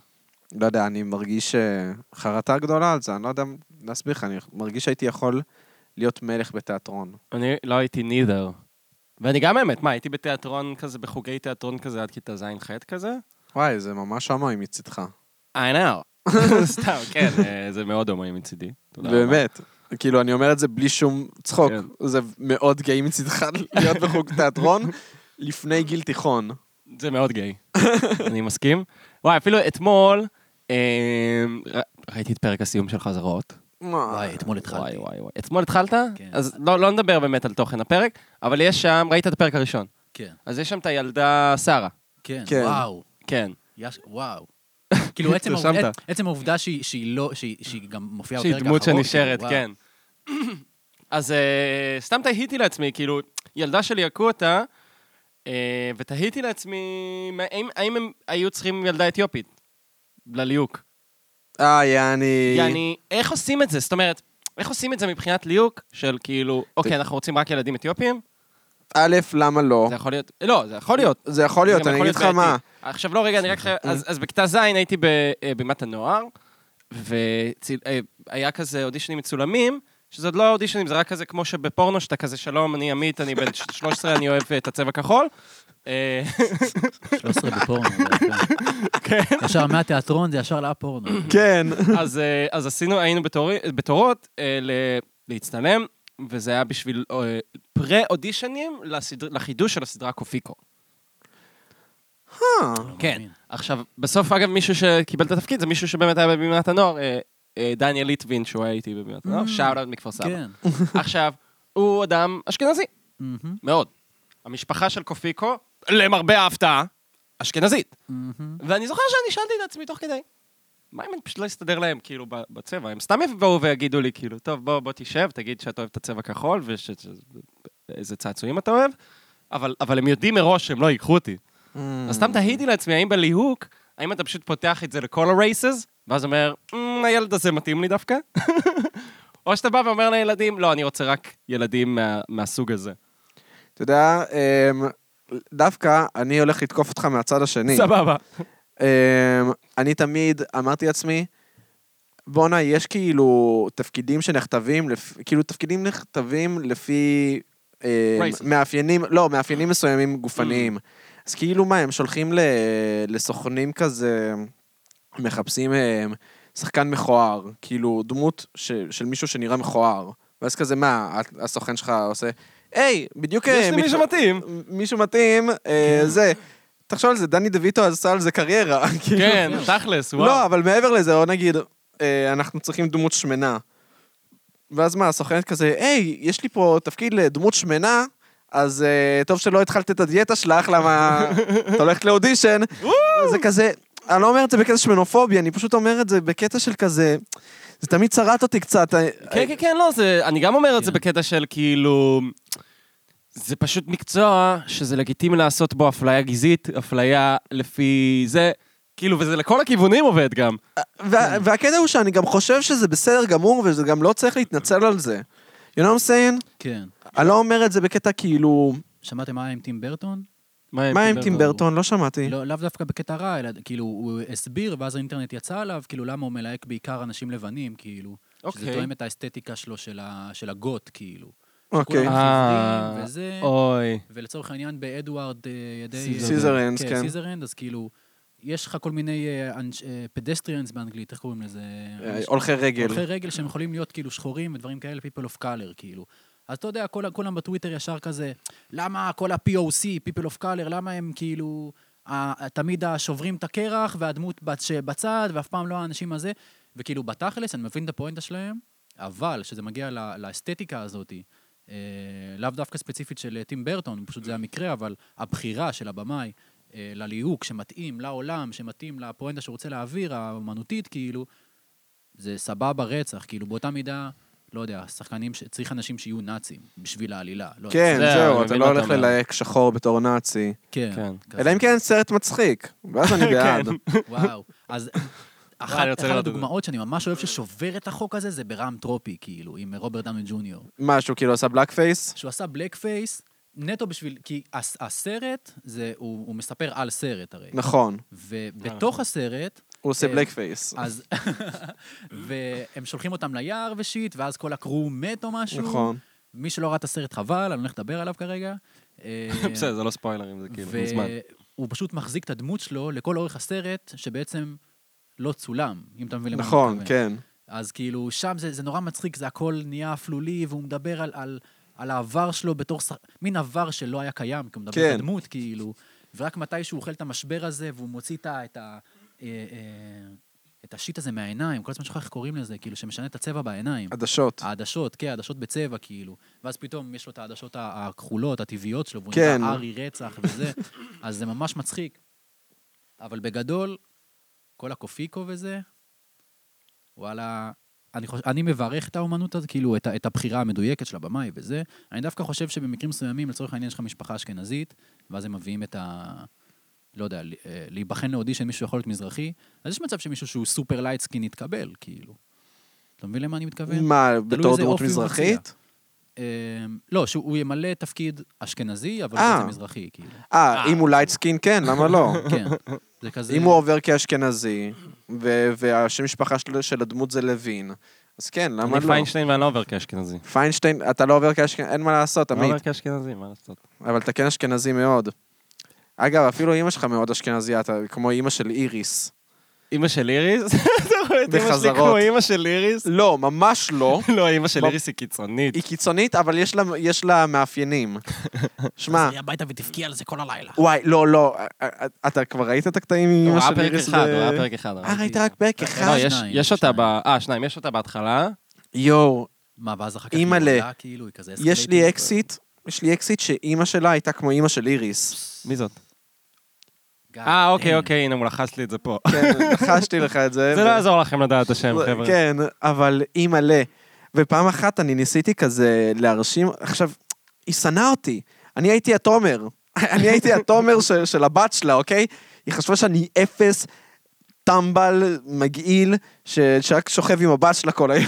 לא יודע, אני מרגיש אה, חרטה גדולה על זה, אני לא יודע להסביר לך, אני מרגיש שהייתי יכול להיות מלך בתיאטרון.
אני לא הייתי נידר. ואני גם, האמת, מה, הייתי בתיאטרון כזה, בחוגי תיאטרון כזה עד כיתה ז'-ח' כזה?
וואי, זה ממש המוי מצידך.
I know. סתם, כן, אה, זה מאוד הומואי מצידי. תודה רבה.
באמת. כאילו, אני אומר את זה בלי שום צחוק.
כן.
זה מאוד גיי מצידך להיות בחוג תיאטרון לפני גיל תיכון.
זה מאוד גיי. אני מסכים. וואי, אפילו אתמול אה, ר- ראיתי את פרק הסיום של חזרות.
וואי, אתמול התחלתי.
וואי, וואי, וואי. אתמול התחלת?
כן.
אז לא לא נדבר באמת על תוכן הפרק, אבל יש שם, ראית את הפרק הראשון.
כן,
אז יש שם את הילדה שרה.
כן,
כן.
וואו.
כן.
יש, וואו. כאילו, עצם
התרשמת.
העובד- עצם העובדה שהיא- שהיא לא, שהיא שהיא גם מופיעה בפרק
שהיא
האחרון.
דמות שנשארת,
כאילו, וואו.
כן. אז אה, סתם תהיתי לעצמי, כאילו, ילדה שלי יכו אותה, אה, ותהיתי לעצמי, מה- האם- האם הם היו צריכים ילדה אתיופית? לליהוק.
אה, יעני...
יעני, איך עושים את זה? זאת אומרת, איך עושים את זה מבחינת ליהוק של כאילו, אוקיי, אנחנו רוצים רק ילדים אתיופים?
א', למה לא?
זה יכול להיות... לא, זה יכול להיות.
זה יכול להיות,
זה גם
אני אגיד לך
בעייתי.
מה.
עכשיו לא, רגע, אני רק חייב... אז אז בכיתה ז' הייתי בבימת הנוער, והיה כזה אודישנים מצולמים, שזה עוד לא אודישנים, זה רק כזה כמו שבפורנו, שאתה כזה, שלום, אני עמית, אני בן 13, אני אוהב את הצבע כחול. אה,
13 בפורנו. כן. ישר מהתיאטרון זה ישר לפורנו.
כן.
אז, אה, אז עשינו, היינו בתור, בתורות אה, ל- להצטלם, וזה היה בשביל אה, פרה-אודישנים לסדר, לחידוש של הסדרה קופיקו. כן.
מאמין.
עכשיו, בסוף, אגב, מישהו שקיבל את התפקיד זה מישהו שבאמת היה בבימת הנוער, אה, אה, דניאל ליטבין, שהוא היה איתי בבימת הנוער,
Mm.
שאל עוד מכפר סבא.
כן.
עכשיו, הוא אדם אשכנזי,
מהמם,
מאוד. המשפחה של קופיקו, למרבה ההפתעה, אשכנזית.
מהמם.
ואני זוכר שאני שאלתי את עצמי תוך כדי, מה אם אני פשוט לא אסתדר להם, כאילו, ב- בצבע? הם סתם יבואו ויגידו לי, כאילו, טוב, בוא, בוא תשב, תגיד שאתה אוהב את הצבע כחול, ואיזה צעצועים אתה אוהב, אבל, אבל הם יודעים מראש שהם לא ייקחו אותי.
Mm.
אז סתם תהיתי לעצמי, האם בליהוק, האם אתה פשוט פותח את זה לכל הרייסס, ואז אומר, "אמ, הילד הזה מתאים לי דווקא? או שאתה בא ואומר לילדים, לא, אני רוצה רק ילדים מה, מהסוג הזה.
אתה יודע, אמ, דווקא אני הולך לתקוף אותך מהצד השני.
סבבה.
אמ, אני תמיד אמרתי לעצמי, בואנה, יש כאילו תפקידים שנכתבים, לפ... כאילו תפקידים נכתבים לפי... אה,
Races.
מאפיינים, לא, מאפיינים מסוימים
Mm.
גופניים. אז כאילו מה, הם שולחים ל... לסוכנים כזה, מחפשים אה, שחקן מכוער, כאילו דמות ש... של מישהו שנראה מכוער. ואז כזה, מה, הסוכן שלך עושה, היי, בדיוק... אה,
יש לי
מת-
מישהו מתאים.
מישהו מתאים, אה,
כן.
זה. תחשוב על זה, דני דויטו עשה על זה קריירה. כאילו.
כן, תכלס, וואו.
לא, אבל מעבר לזה, או נגיד, אה, אנחנו צריכים דמות שמנה. ואז מה, הסוכנת כזה, היי, יש לי פה תפקיד לדמות שמנה, אז אה, טוב שלא התחלת את הדיאטה שלך, למה את הולכת לאודישן. זה כזה, אני לא אומר את זה בקטע של מנופוביה, אני פשוט אומר את זה בקטע של כזה, זה תמיד צרט אותי קצת. אה,
כן, כן, כן, לא, זה, אני גם אומר את זה
כן.
בקטע של כאילו... זה פשוט מקצוע שזה לגיטימי לעשות בו אפליה גזעית, אפליה לפי זה, כאילו, וזה לכל הכיוונים עובד גם.
וה- והקטע הוא שאני גם חושב שזה בסדר גמור, וזה גם לא צריך להתנצל על זה. You know what I'm saying?
כן.
אני לא אומר את זה בקטע כאילו,
שמעתם מה היה עם טים ברטון?
מה עם טים ברטון? לא שמעתי.
כן, לא, לאו דווקא בקטע רע, אלא כאילו, הוא הסביר, ואז האינטרנט יצא עליו, כאילו, למה הוא מלהק בעיקר אנשים לבנים, כאילו. שזה
אוקיי.
תואם את האסתטיקה שלו של, ה, של הגות, כאילו.
אוקיי.
שכולם
אה,
חופרים וזה,
אוי.
ולצורך העניין באדוארד אה, ידי...
סיזרנד.
סיזרנד, כן.
סיזרנד, אז כאילו, יש לך כל מיני אה, פדסטריאנס באנגלית, איך קוראים לזה?
אה, הולכי רגל.
הולכי רגל שהם יכולים להיות כאילו שחורים ודברים כאלה, people of color, כאילו. אז אתה יודע, כל, כולם בטוויטר ישר כזה, למה כל ה-POC, people of color, למה הם כאילו, ה- תמיד השוברים את הקרח והדמות בת- שבצד, ואף פעם לא האנשים הזה, וכאילו בתכלס, אני מבין את הפואנטה שלהם, אבל כשזה מגיע לא, לאסתטיקה הזאת, אה, לאו דווקא ספציפית של אה, טים ברטון, פשוט זה המקרה, אבל הבחירה של הבמאי אה, לליהוק שמתאים לעולם, שמתאים לפואנטה שהוא רוצה להעביר, האמנותית, כאילו, זה סבבה רצח, כאילו באותה מידה, לא יודע, שחקנים, ש- צריך אנשים שיהיו נאצים בשביל העלילה. לא יודע.
כן,
זהו,
זהו,
אני
אתה
מבין
לא
מה אתה
הולך
אומר.
ללהק שחור בתור נאצי.
כן.
כן.
כזה. כן.
אלא אם כן סרט מצחיק, ואז אני בעד.
וואו. אז
אני
אחת אחת
רוצה לראות את זה.
הדוגמאות שאני ממש אוהב ששובר את החוק הזה, זה ברם טרופי, כאילו, עם רוברט דאוני ג'וניור.
מה, שהוא כאילו עשה בלאק פייס?
שהוא עשה בלק פייס, נטו בשביל, כי הס- הסרט, זה, הוא הוא מספר על סרט הרי.
נכון,
ובתוך הסרט,
הוא עושה
אה,
בלאק פייס.
אז... והם שולחים אותם ליער ושיט, ואז כל הקרו מת או משהו.
נכון.
מי שלא ראה את הסרט חבל, אני הולך לדבר עליו כרגע. אה,
בסדר, זה לא ספוילרים, זה כאילו, מזמן.
והוא פשוט מחזיק את הדמות שלו לכל אורך הסרט, שבעצם לא צולם, אם אתה מבין למה אני
נכון,
מתכוון.
כן.
אז כאילו, שם זה, זה נורא מצחיק, זה הכל נהיה אפלולי, והוא מדבר על, על, על העבר שלו בתור ש... מין עבר שלא היה קיים, כי הוא מדבר
כן.
על הדמות, כאילו, ורק מתי שהוא אוכל את המשבר הזה, והוא מוציא את ה... את, ה, אה, אה, את השיט הזה מהעיניים, כל הזמן שוכח איך קוראים לזה, כאילו, שמשנה את הצבע בעיניים.
עדשות.
העדשות, כן, העדשות בצבע, כאילו. ואז פתאום יש לו את העדשות ה- הכחולות, הטבעיות שלו, והוא
כן.
נקרא ארי רצח וזה, אז זה ממש מצחיק. אבל בגדול, כל הקופיקו וזה, וואלה, אני, חוש... אני מברך את האומנות הזאת, כאילו, את, ה- את הבחירה המדויקת של הבמאי וזה. אני דווקא חושב שבמקרים מסוימים, לצורך העניין, יש לך משפחה אשכנזית, ואז הם מביאים את ה... לא יודע, ל- אה, להיבחן לאודישן, מישהו יכול להיות מזרחי, אז יש מצב שמישהו שהוא סופר לייטסקין יתקבל, כאילו. אתה מבין למה אני מתכוון?
מה,
אוקיי. תלוי
בתור
איזה
דמות
אופי הוא
מזרחית?
אמ, לא, שהוא ימלא תפקיד אשכנזי, אבל
אה.
הוא בעצם מזרחי, כאילו.
אה, אם הוא לייט סקין, כן, למה לא?
כן, זה כזה...
אם הוא עובר כאשכנזי, ו- והשם משפחה של- של הדמות זה לוין, אז כן, למה
אני
לא?
פיינשטיין ואני לא עובר כאשכנזי.
פיינשטיין, אתה לא עובר כאשכנזי, אין מה לעשות,
אני לא
עמית.
עובר כאשכנזי, מה לעשות?
אבל אתה כן אשכנזי מאוד. אגב, אפילו אימא שלך מאוד אשכנזייה, אתה כמו אימא של איריס.
אימא של איריס? אתה רואה את אימא שלי
בחזרות.
כמו אימא של איריס?
לא, ממש לא.
לא, אימא של
מה-
איריס היא קיצונית.
היא קיצונית, אבל יש לה, יש לה מאפיינים. שמע,
תחזרי הביתה ותבכי על זה כל הלילה.
וואי, לא, לא, אה, אה, אתה כבר ראית את הקטעים עם
הוא
אמא
ראה
של
פרק
איריס?
אחד,
ב-
הוא ראה פרק אחד.
אה,
אבל-
ראית רק פרק אחד?
לא, יש-
שניים,
יש אותה
שניים.
ב... אה, שניים, יש אותה בהתחלה.
יואו,
מה, ואז אחר כך היא
אימא'לה.
עולה, כאילו, היא כזה...
יש לי
escalated?
אקסיט, יש לי אקסיט שאימא שלה הייתה כמו אימא של איריס.
מי זאת?
God
אה, אוקיי,
damn.
אוקיי, הנה, הוא לחש לי את זה פה.
כן, לחשתי לך את זה.
זה
ו-
לא יעזור לכם לדעת את השם,
לא,
חבר'ה.
כן, אבל אימא'לה. ופעם אחת אני ניסיתי כזה להרשים, עכשיו, היא שנאה אותי. אני הייתי התומר. אני הייתי התומר של, של הבת שלה, אוקיי? היא חשבה שאני אפס, טמבל, מגעיל, ש, שרק שוכב עם הבת שלה כל היום.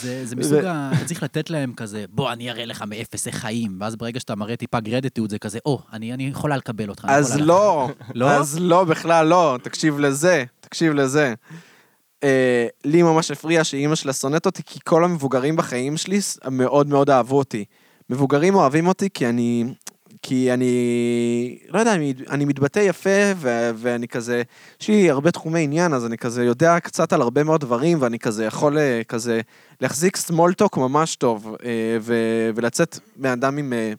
זה זה מסוג ה... אתה צריך לתת להם כזה, בוא, אני אראה לך מאפס איך חיים, ואז ברגע שאתה מראה טיפה גרדיטיות, זה כזה, או, אני אני יכולה לקבל אותך. אני
אז
יכולה
לא,
לא?
אז לא, בכלל לא. תקשיב לזה, תקשיב לזה. אה, לי ממש הפריע שאימא שלה שונאת אותי, כי כל המבוגרים בחיים שלי ס- מאוד מאוד אהבו אותי. מבוגרים אוהבים אותי כי אני... כי אני, לא יודע, אני, אני מתבטא יפה, ו, ואני כזה, יש לי הרבה תחומי עניין, אז אני כזה יודע קצת על הרבה מאוד דברים, ואני כזה יכול אה, כזה להחזיק small talk ממש טוב, אה, ו, ולצאת מאדם עם, אה,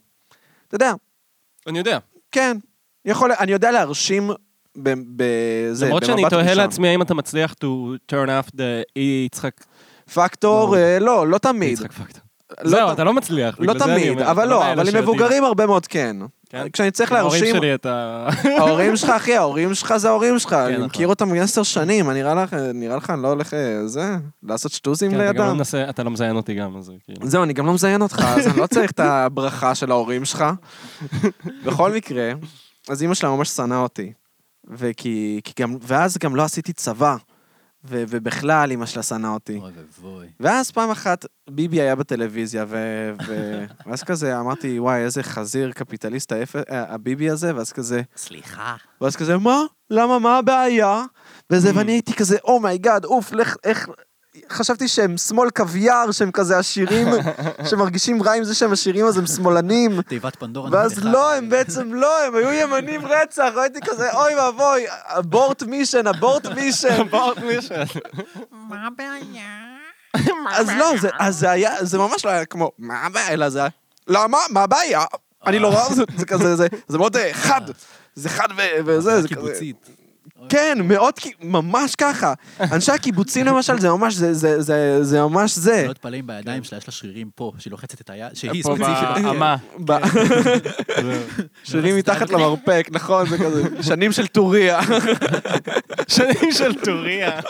אתה יודע,
אני יודע.
כן, יכול, אני יודע להרשים ב- בזה,
למרות שאני
במבט
תוהה
ראשון.
לעצמי האם אתה מצליח to turn off the אי יצחק...
פקטור,
ברור.
אה, לא, לא
אי
תמיד.
יצחק פקטו.
לא
זהו,
ת-
אתה לא מצליח.
לא
בגלל זה אני
תמיד,
אומר,
אבל
אתה
לא,
מאלה
אבל עם
שיודעים.
מבוגרים הרבה מאוד כן.
כן?
כשאני צריך
עם ההורים
להרשים,
שלי אתה...
ההורים שלך, אחי, ההורים שלך זה ההורים שלך, אני
נכון.
מכיר אותם עשר שנים, אני נראה לך, נראה לך, אני לא הולך, אה, זה, לעשות שטוזים
כן, אתה גם לא
לידם.
מנסה- אתה לא מזיין אותי גם, אז כאילו...
זהו, אני גם לא מזיין אותך, אז אני לא צריך את הברכה של ההורים שלך. בכל מקרה, אז אימא שלה ממש שנאה אותי. וכי, כי גם, ואז גם לא עשיתי צבא. ו- ובכלל, אימא שלה שנאה אותי.
אוי ואבוי.
ואז פעם אחת ביבי היה בטלוויזיה, ו... ו... ואז כזה אמרתי, וואי, איזה חזיר קפיטליסט האפ... ה- הביבי הזה, ואז כזה...
סליחה.
ואז כזה, מה? למה? מה הבעיה? וזה, ואני הייתי כזה, אומייגאד, אוף, לך, איך... חשבתי שהם שמאל קוויאר, שהם כזה עשירים, שמרגישים רע עם זה שהם עשירים, אז הם שמאלנים.
תיבת פנדורה
ואז
נפתחה.
לא, הם בעצם לא, הם היו ימנים רצח, הייתי כזה, אוי ואבוי, אבורט מישן, אבורט מישן.
מה הבעיה?
אז לא, זה, אז זה היה, זה ממש לא היה כמו, מה הבעיה, אלא זה היה, למה, מה הבעיה? אני לא רואה, זה, זה כזה, זה, זה מאוד אה, חד, זה חד ו- וזה, זה כזה.
קיבוצית.
כן, מאוד, כי- ממש ככה. אנשי הקיבוצים למשל, זה ממש זה, זה, זה, זה ממש זה.
לא תתפלא אם בידיים שלה יש לה שרירים פה, שהיא לוחצת את היד, שהיא
פה אה,
ספציפית. אה,
באמה.
ב- שירים מתחת למרפק, נכון, זה כזה, שנים של טוריה.
שנים של טוריה.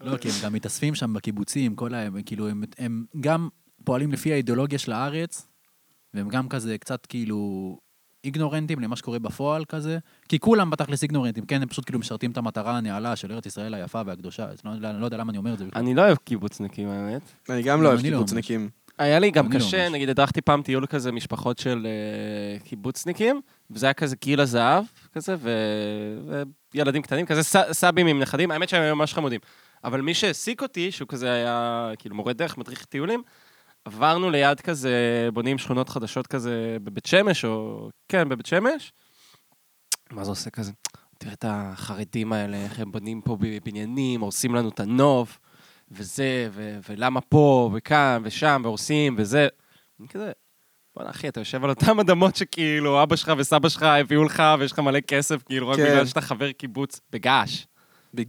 לא, כי הם גם מתאספים שם בקיבוצים, כל ה... כאילו, הם, הם גם פועלים לפי האידיאולוגיה של הארץ, והם גם כזה קצת כאילו איגנורנטים למה שקורה בפועל כזה, כי כולם בתכלס איגנורנטים, כן, הם פשוט כאילו משרתים את המטרה הנעלה של ארץ ישראל היפה והקדושה, אז לא, יודע- אני לא יודע למה אני אומר את זה בכלל.
אני לא אוהב קיבוצניקים, האמת.
אני גם
לא
לא
אוהב
אוהב
אני לא ממש.
קיבוצניקים.
היה לי גם
אני לא
קשה,
ממש.
נגיד הדרכתי פעם טיול כזה, משפחות של אה, קיבוצניקים, וזה היה כזה גיל הזהב, כזה, ו- וילדים קטנים, כזה ס- סבים עם נכדים, האמת שהם היו ממש חמודים. אבל מי שהעסיק אותי, שהוא כזה היה כאילו מורה דרך, מדריך טיולים, עברנו ליד כזה, בונים שכונות חדשות כזה בבית שמש, או... כן, בבית שמש. מה זה עושה כזה? תראה את החרדים האלה, איך הם בונים פה בבניינים, הורסים לנו את הנוף, וזה, ו- ולמה פה, וכאן, ושם, והורסים, וזה. אני כזה, בואנה אחי, אתה יושב על אותן אדמות שכאילו אבא שלך וסבא שלך הביאו לך, ויש לך מלא כסף, כאילו, רק
כן.
בגלל שאתה חבר קיבוץ בגעש. געש, זה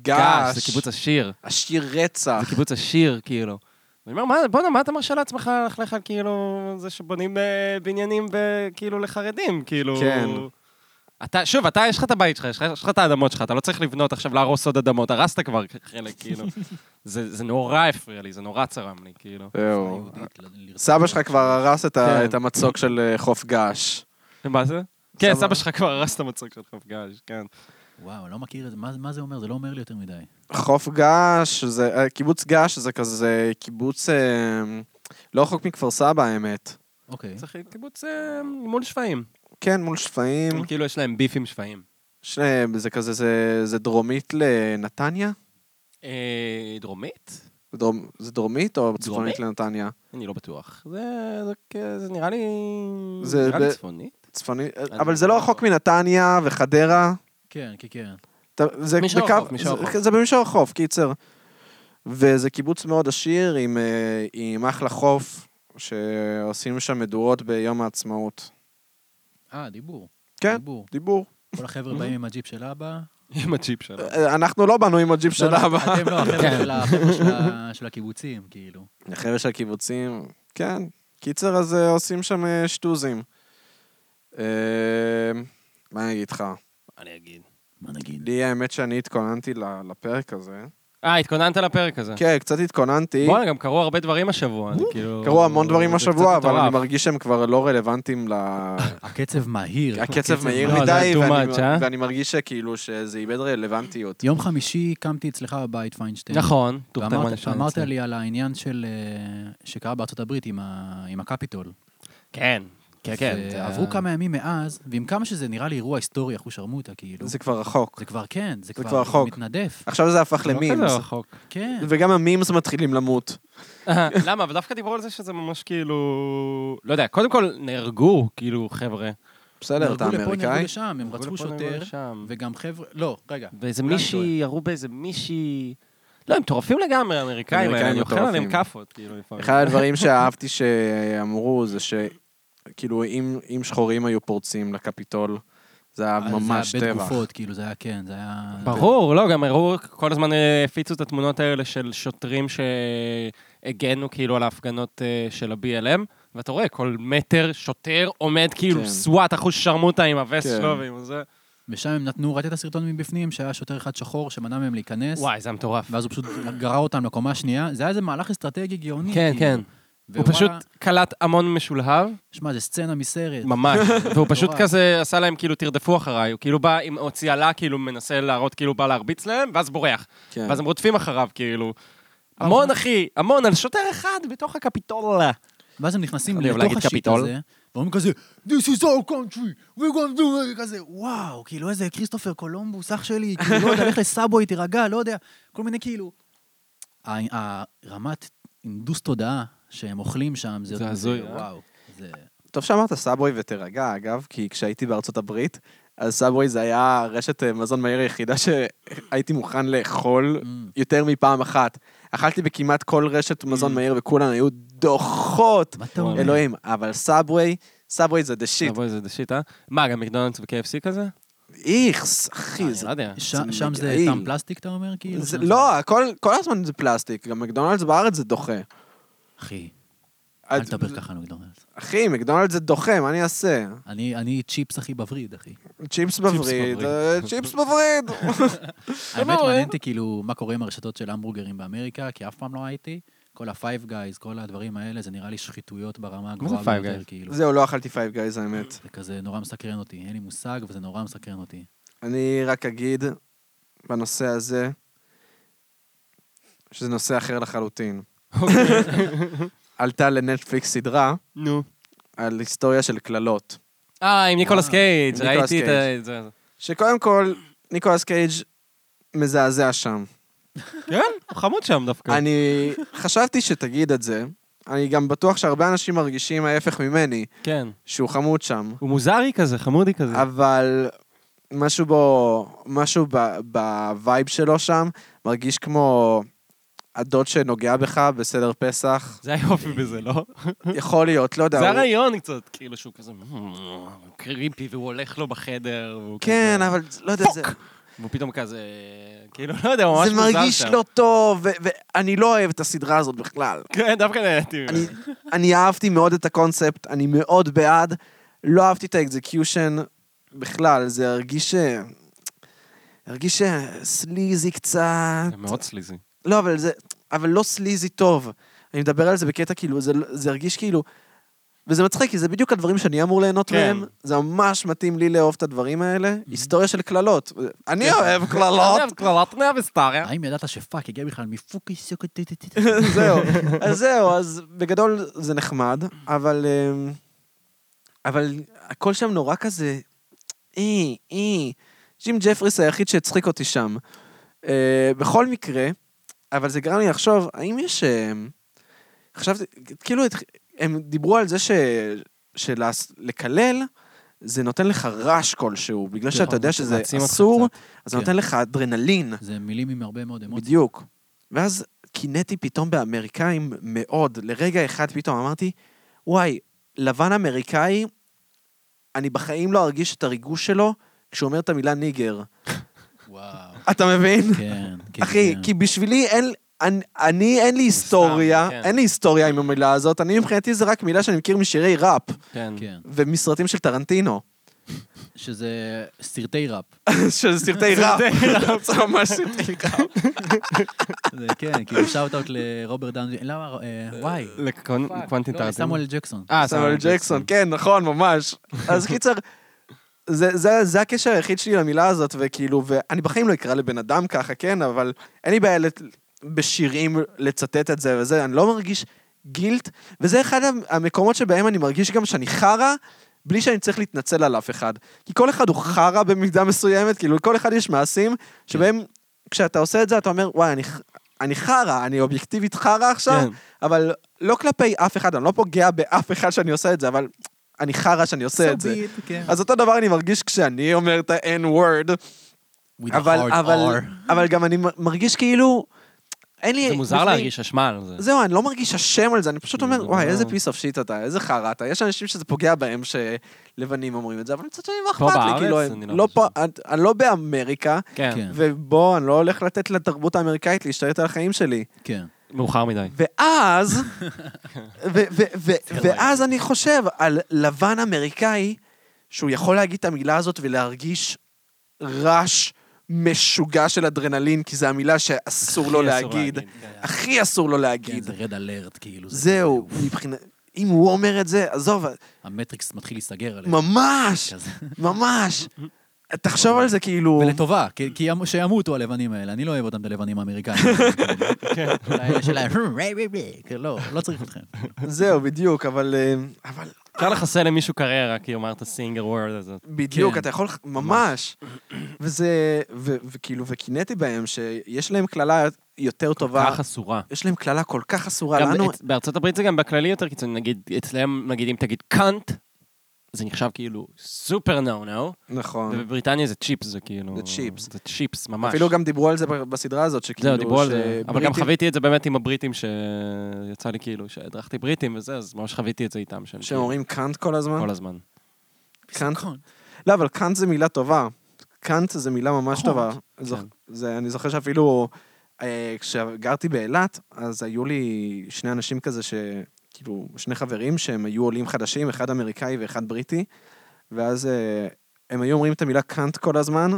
בגש,
קיבוץ עשיר.
עשיר רצח.
זה קיבוץ עשיר, כאילו. ואני אומר, "מה- בואנה, מה אתה מרשה לעצמך ללכלך על כאילו זה שבונים אה, בניינים ב- כאילו לחרדים, כאילו...
כן.
אתה, שוב, אתה, יש לך את הבית שלך, יש לך- יש לך את האדמות שלך, אתה לא צריך לבנות עכשיו, להרוס עוד אדמות, הרסת כבר חלק, כאילו. זה, זה נורא הפריע לי, זה נורא צרם לי, כאילו.
זהו.
היהודית, ל- לרצות-
סבא שלך כבר הרס את
כן.
ה- את המצוק של אה, חוף געש.
מה זה? כן,
סבא.
סבא שלך כבר הרס את המצוק של חוף געש, כן.
וואו, לא מכיר את זה, מה, מה זה אומר? זה לא אומר לי יותר מדי.
חוף געש, זה- אה, קיבוץ געש זה כזה קיבוץ אה, לא רחוק מכפר סבא האמת.
אוקיי.
צריך קיבוץ אה, מול שפיים.
כן, מול שפיים.
הם כאילו, יש להם ביף עם שפיים.
שניהם, זה כזה, זה, זה דרומית לנתניה?
אה, דרומית?
זה דרום, זה דרומית או צפונית
דרומית?
לנתניה?
אני לא בטוח. זה, זה, כ- זה נראה לי...
זה
זה נראה לי
ב-
צפונית.
צפונית,
אני
אבל זה
לא
לא רחוק
בטוח.
מנתניה וחדרה.
כן, כן, כן.
אתה- זה
מישור
בקו-
החוף, מישור
זה-
החוף.
זה במישור החוף, קיצר. וזה קיבוץ מאוד עשיר עם, אה, עם אחלה חוף, שעושים שם מדורות ביום העצמאות.
אה, דיבור.
כן,
דיבור.
דיבור.
כל החבר'ה באים עם הג'יפ של אבא.
עם הג'יפ שלו.
אה, אנחנו לא באנו עם הג'יפ של
לא, לא,
אבא.
אתם לא, החבר'ה
כן.
של ה- החבר'ה של ה- של הקיבוצים, כאילו.
החבר'ה של הקיבוצים, כן. קיצר, אז אה, עושים שם אה, שטוזים. אה, מה אני אגיד לך?
אני אגיד.
מה נגיד?
לי האמת שאני התכוננתי ל- לפרק הזה.
אה, התכוננת לפרק הזה.
כן, קצת התכוננתי.
בואנה, גם קרו הרבה דברים השבוע, אני כאילו...
קרו המון דברים
זה קצת
השבוע, אבל אני
מטורף.
מרגיש שהם כבר לא רלוונטיים ל...
הקצב מהיר.
הקצב מהיר
לא, זה
מדי,
too
ואני-
much, אה?
ואני מרגיש שכאילו שזה איבד רלוונטיות.
יום חמישי קמתי אצלך בבית פיינשטיין.
נכון, טורטרמן
ואמרת
ישן
אמרת
אצלי.
לי על העניין של... אה, שקרה בארצות הברית עם ה- עם הקפיטול.
כן. כן, כן. זה
ועברו
היה-
כמה ימים מאז, ועם כמה שזה נראה לי אירוע היסטורי, אחושרמוטה, כאילו.
זה כבר רחוק.
זה כבר, כן, זה
כבר
כבר
רחוק.
מתנדף.
עכשיו זה הפך
לא
למימס.
כזה רחוק.
כן.
וגם המימס מתחילים למות.
למה? אבל דווקא דיברו על זה שזה ממש כאילו... לא יודע, קודם כל נהרגו, כאילו, חבר'ה.
בסדר, אתה
נהרגו לפה,
אמריקאי?
נהרגו לשם, הם רצחו
נהרגו לפה, נהרגו
שוטר,
לשם.
וגם חבר'ה... לא, רגע.
ואיזה
אולי אני
מישהי, ירו באיזה מישהי... לא, הם מטורפים לגמרי, האמריקאים האלה,
האמריקאים
הם אוכלים עליהם
מטורפים.
כאפות, כאילו, לפעמים.
אחד הדברים שאהבתי שאמרו זה שכאילו אם, אם שחורים היו פורצים לקפיטול, זה היה
אז
ממש
אה, זה היה בית
טבח.
גופות, כאילו, זה היה, כן, זה היה...
ברור, לא, גם הראו, כל הזמן אה, הפיצו את התמונות האלה של שוטרים שהגנו כאילו על ההפגנות אה, של ה-BLM, ואתה רואה, כל מטר שוטר עומד
כן.
כאילו סוואט אחוז שרמוטה עם הווסט
כן.
שלו ועם זה.
ושם הם נתנו, ראית את הסרטון מבפנים, שהיה שוטר אחד שחור שמנע מהם להיכנס,
וואי, זה היה מטורף.
ואז הוא פשוט גרר אותם לקומה השנייה, זה היה איזה מהלך אסטרטגי גאוני.
כן,
כאילו.
כן. הוא
ווואלה,
פשוט קלט המון משולהב,
שמע, זה סצנה מסרט.
ממש, והוא פשוט
נורא.
כזה עשה להם כאילו תרדפו אחריי, הוא כאילו בא עם הוציאלה, כאילו מנסה להראות כאילו בא להרביץ להם, ואז בורח.
כן.
ואז הם רודפים אחריו, כאילו. המון, אחי, המון, על שוטר אחד בתוך הקפיטולה.
ואז הם נכנסים
אני אוהב
לתוך
להגיד
השיט
קפיטול.
הזה, ואומרים כזה, This is our country, we're gonna do it, כזה, וואו, כאילו איזה כריסטופר קולומבוס, אח שלי, כאילו, לא יודע, לך לסאבוי, תירגע, לא יודע, כל מיני כאילו. ה- הרמת הנדוס תודעה שהם אוכלים שם, זה...
זה הזוי, אה?
וואו. זה-
טוב שאמרת סאבווי ותירגע, אגב, כי כשהייתי בארצות הברית, אז סאבווי זה היה רשת אה, מזון מהיר היחידה שהייתי מוכן לאכול
Mm.
יותר מפעם אחת. אכלתי בכמעט כל רשת מזון מהיר וכולן היו דוחות.
מה אתה אומר?
אלוהים, אבל סאבווי, סאבווי זה דה שיט.
סאבווי זה דה שיט, אה? מה, גם מקדונלדס ו-KFC כזה? אה,
איכס, אחי,
אני
אה, זה...
לא יודע.
ש-
זה
שם זה
מגעיל.
טעם פלסטיק, אתה אומר? כאילו?
זה-
שם
לא, הכל- כל הזמן זה פלסטיק, גם מקדונלדס בארץ זה דוחה.
אחי,
את-
אל תדבר ככה על מקדונלדס.
אחי, מקדונלדס זה דוחה, מה אני אעשה?
אני אני צ'יפס הכי בווריד, אחי.
צ'יפס בווריד,
בווריד.
אה, צ'יפס בווריד.
האמת, מעניין אותי כאילו מה קורה עם הרשתות של המבורגרים באמריקה, כי אף פעם לא הייתי. כל ה-Five Guys, כל הדברים האלה, זה נראה לי שחיתויות ברמה
זה
הגבוהה
Five
ביותר,
Guys?
כאילו.
זהו, לא אכלתי פייב גייז, האמת.
זה כזה נורא מסקרן אותי, אין לי מושג, וזה נורא מסקרן אותי.
אני רק אגיד בנושא הזה, שזה נושא אחר לחלוטין. עלתה לנטפליקס סדרה
נו.
על היסטוריה של קללות.
אה, עם ניקולס קייג',
עם ניקולס
ראיתי את
קייג'.
ה- את זה.
שקודם כל, ניקולס קייג' מזעזע שם.
כן, הוא חמוד שם דווקא.
אני חשבתי שתגיד את זה. אני גם בטוח שהרבה אנשים מרגישים ההפך ממני,
כן.
שהוא חמוד שם.
הוא מוזרי כזה, חמודי כזה.
אבל משהו בו, משהו ב- בווייב שלו שם, מרגיש כמו הדוד שנוגע בך בסדר פסח.
זה היופי בזה, לא?
יכול להיות, לא יודע.
זה
הוא-
הרעיון קצת, כאילו שהוא כזה "מ, קריפי, והוא הולך לו בחדר, והוא
כן,
כזה-
אבל לא יודע, זה,
והוא פתאום כזה, כאילו, לא יודע, הוא ממש
זה
מוזר שם.
מרגיש לא טוב, ו- ואני לא אוהב את הסדרה הזאת בכלל.
כן, דווקא נהניתי ממנו.
אני, אני אהבתי מאוד את הקונספט, אני מאוד בעד. לא אהבתי את האקזקיושן בכלל, זה הרגיש... אה, הרגיש אה, סליזי קצת.
זה מאוד סליזי.
לא, אבל זה... אבל לא סליזי טוב. אני מדבר על זה בקטע כאילו, זה, לא- זה הרגיש כאילו... וזה מצחיק, כי זה בדיוק הדברים שאני אמור ליהנות
כן.
מהם. זה ממש מתאים לי לאהוב את הדברים האלה. היסטוריה של קללות. אני אוהב
אני
קללות.
אוהב קללות נאה
אה?
וסטאריה.
האם ידעת שפאק הגיע בכלל מפוקי סוקו טי טי טי?
זהו. אז זהו, אז בגדול זה נחמד, אבל... אמ, אבל הכל שם נורא כזה... אי, אי. ג'ים ג'פריס היחיד שהצחיק אותי שם. אה, בכל מקרה, אבל זה גרם לי לחשוב, האם יש... אמ, חשבתי, כאילו, התח- הם דיברו על זה ש... שלקלל, זה נותן לך רעש כלשהו, בגלל
נכון,
שאתה יודע
זה
שזה
מעצים אותך
אסור,
קצת.
אז זה
כן.
נותן לך אדרנלין.
זה מילים עם הרבה מאוד אמוציות.
בדיוק. ואז קינאתי פתאום באמריקאים מאוד. לרגע אחד פתאום אמרתי, וואי, לבן אמריקאי, אני בחיים לא ארגיש את הריגוש שלו כשהוא אומר את המילה ניגר.
וואו.
אתה מבין?
כן, כן.
אחי,
כן.
כי בשבילי אין... אני, אני, אין לי היסטוריה,
כן.
אין לי היסטוריה עם המילה הזאת, אני מבחינתי זה רק מילה שאני מכיר משירי ראפ
כן.
כן.
ומסרטים של טרנטינו,
שזה סרטי ראפ.
של סרטי ראפ, זה ממש סרטי ראפ.
זה כן, כאילו שאוט אאוט לרוברט דאונג'י. למה? אה, וואי.
לקוונטין
לא,
טרנטינו.
לסמואל ג'קסון.
אה,
סמואל ג'קסון, כן, נכון, ממש. אז קיצר, זה, זה, זה הקשר היחיד שלי למילה הזאת, וכאילו, ואני בחיים לא אקרא לבן אדם ככה, כן, אבל אין לי בעיה לת... בשירים לצטט את זה וזה, אני לא מרגיש גילט, וזה אחד המקומות שבהם אני מרגיש גם שאני חרא, בלי שאני צריך להתנצל על אף אחד. כי כל אחד הוא חרא במידה מסוימת, כאילו, לכל אחד יש מעשים שבהם, כשאתה עושה את זה, אתה אומר, וואי, אני, ח- אני חרא, אני אובייקטיבית חרא עכשיו,
כן.
אבל לא כלפי אף אחד, אני לא פוגע באף אחד שאני עושה את זה, אבל אני חרא שאני עושה את זה.
כן.
אז אותו דבר אני מרגיש כשאני אומר את ה-N-word, אבל, אבל, אבל גם אני מ- מרגיש כאילו, אין לי...
זה מוזר
בפנים-
להרגיש אשמה על זה.
זהו, אני לא מרגיש אשם על זה, אני פשוט אומר,
זה
וואי,
לא-
איזה פיס אוף שיט אתה, איזה חרא אתה. יש אנשים שזה פוגע בהם שלבנים אומרים את זה, אבל מצד שני, לא
פה
אכפת לי,
בארץ?
כאילו,
אני לא
לא
חושב.
פה- אני- אני לא באמריקה,
כן,
כן.
ובוא, אני לא הולך לתת לתרבות האמריקאית להשתלט על החיים שלי.
כן.
מאוחר מדי.
ואז, ו- ו- ו- ואז אני חושב על לבן אמריקאי, שהוא יכול להגיד את המילה הזאת ולהרגיש רעש משוגע של אדרנלין, כי זו המילה שאסור לו
הכי אסור
להגיד.
כן.
הכי אסור לו
כן,
להגיד.
זה רד אלרט, כאילו. זה-
זהו, מבחינת... אם הוא אומר את זה, עזוב,
המטריקס מתחיל להיסגר עליהם.
ממש,
כזה.
ממש. תחשוב על זה כאילו...
ולטובה, כי- כי ימ- שימותו הלבנים האלה, אני לא אוהב אותם את הלבנים האמריקאים.
כן.
של ה- של ה- לא, לא צריך אתכם.
זהו, בדיוק, אבל... אה, אבל
אפשר לחסל למישהו קריירה, כי הוא אמר את הסינגר וורד הזאת.
בדיוק,
כן.
אתה יכול... ממש. וזה... ו- וכאילו, וקינאתי בהם שיש להם קללה יותר טובה.
כך אסורה.
יש להם קללה כל כך אסורה
גם
לנו.
באצ- בארצות הברית זה גם בכללי יותר קיצוני, נגיד, אצלם, נגיד, אם תגיד קאנט, זה נחשב כאילו סופר נו נו,
נכון.
ובבריטניה זה צ'יפס, זה כאילו...
זה צ'יפס.
זה צ'יפס, ממש.
אפילו גם דיברו על זה ב- בסדרה הזאת, שכאילו...
זהו, דיברו על זה. אבל גם
שבריטים-
חוויתי את זה באמת עם הבריטים, שיצא לי כאילו, שהדרכתי בריטים וזה, אז ממש חוויתי את זה איתם. שהם
שהם
כאילו-
אומרים קאנט כל הזמן?
כל הזמן.
קאנט
נכון.
לא, אבל קאנט זה מילה טובה. קאנט זה מילה ממש
נכון.
טובה. זוכ- זה- אני זוכר שאפילו אה, כשגרתי באילת, אז היו לי שני אנשים כזה ש... כאילו, שני חברים שהם היו עולים חדשים, אחד אמריקאי ואחד בריטי, ואז אה, הם היו אומרים את המילה קאנט כל הזמן,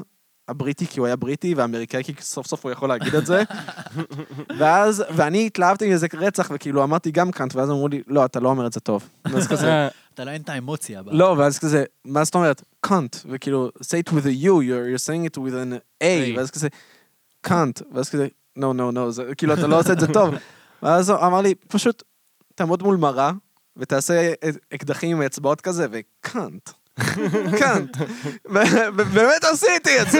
הבריטי כי הוא היה בריטי, והאמריקאי כי סוף סוף הוא יכול להגיד את זה. ואז, ואני התלהבתי מזה רצח, וכאילו אמרתי גם קאנט, ואז אמרו לי, לא, אתה לא אומר את זה טוב. אז כזה,
אה,
אתה לא, אין את האמוציה. ב-
לא, ואז כזה, מה זאת אומרת? קאנט, וכאילו, say it with a U, you're, you're saying it with an A,
A.
ואז כזה, קאנט, ואז כזה, no, no, no, זה, כאילו, אתה לא עושה את זה טוב. ואז הוא אמר לי, פשוט, תעמוד מול מראה, ותעשה אקדחים עם אצבעות כזה, וקאנט. קאנט. ו- ובאמת עשיתי את זה.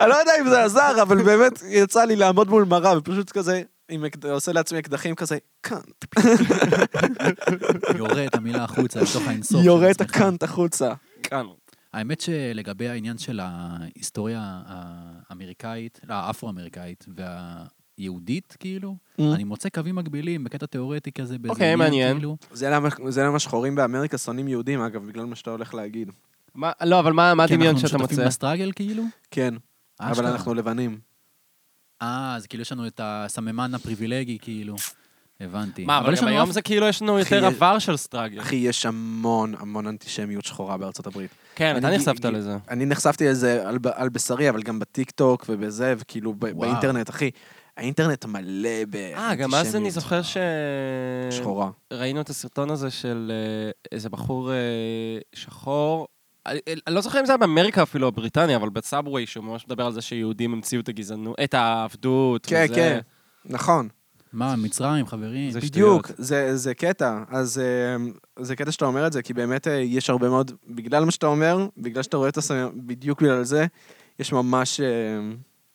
אני לא יודע אם זה עזר, אבל באמת יצא לי לעמוד מול מראה, ופשוט כזה, עם אקד- עושה לעצמי אקדחים כזה, קאנט.
יורה את המילה החוצה לתוך האינסוף. של
יורה את
עצמך.
הקאנט החוצה.
כאן.
האמת שלגבי העניין של ההיסטוריה האמריקאית, לא, האפרו-אמריקאית והיהודית, כאילו,
Mm.
אני מוצא קווים מקבילים בקטע תיאורטי כזה, באיזה
אוקיי,
עניין,
מעניין.
כאילו.
זה למה, זה למה שחורים באמריקה שונאים יהודים, אגב, בגלל מה שאתה הולך להגיד.
מה- לא, אבל מה מה
כי
הדמיון
אנחנו
שאתה
משותפים
מוצא?
בסטראגל, כאילו?
כן, אבל
אה,
אשכרה.
אנחנו לבנים.
אה, אז כאילו יש לנו את הסממן הפריבילגי, כאילו.
אוקיי.
הבנתי.
מה, אבל
יש
גם
לנו
היום
אף-
זה כאילו יש לנו
אחי,
יותר
יש-
עבר של סטראגל.
אחי, יש המון המון אנטישמיות שחורה בארצות הברית.
כן, אתה
אני-
נחשפת
אני-
לזה.
אני נחשפתי לזה על, ב- על בשרי, אבל גם בטיקטוק ובזה, וכאילו ב-
וואו.
באינטרנט, אחי. האינטרנט מלא באנטישמיות.
אה, גם אז אני זוכר ש...
שחורה.
ראינו את הסרטון הזה של אה, איזה בחור אה, שחור. אני אני לא זוכר אם זה היה באמריקה אפילו, או בריטניה, אבל בסאבווי, שהוא ממש מדבר על זה שיהודים המציאו את הגזענות, את העבדות.
כן,
וזה.
כן. נכון.
מה, מצרים, חברים?
זה ש- שטויות.
בדיוק, זה, זה קטע. אז אה, זה קטע שאתה אומר את זה, כי באמת אה, יש הרבה מאוד, בגלל מה שאתה אומר, בגלל שאתה רואה את הסמ... בדיוק בגלל זה, יש ממש... אה,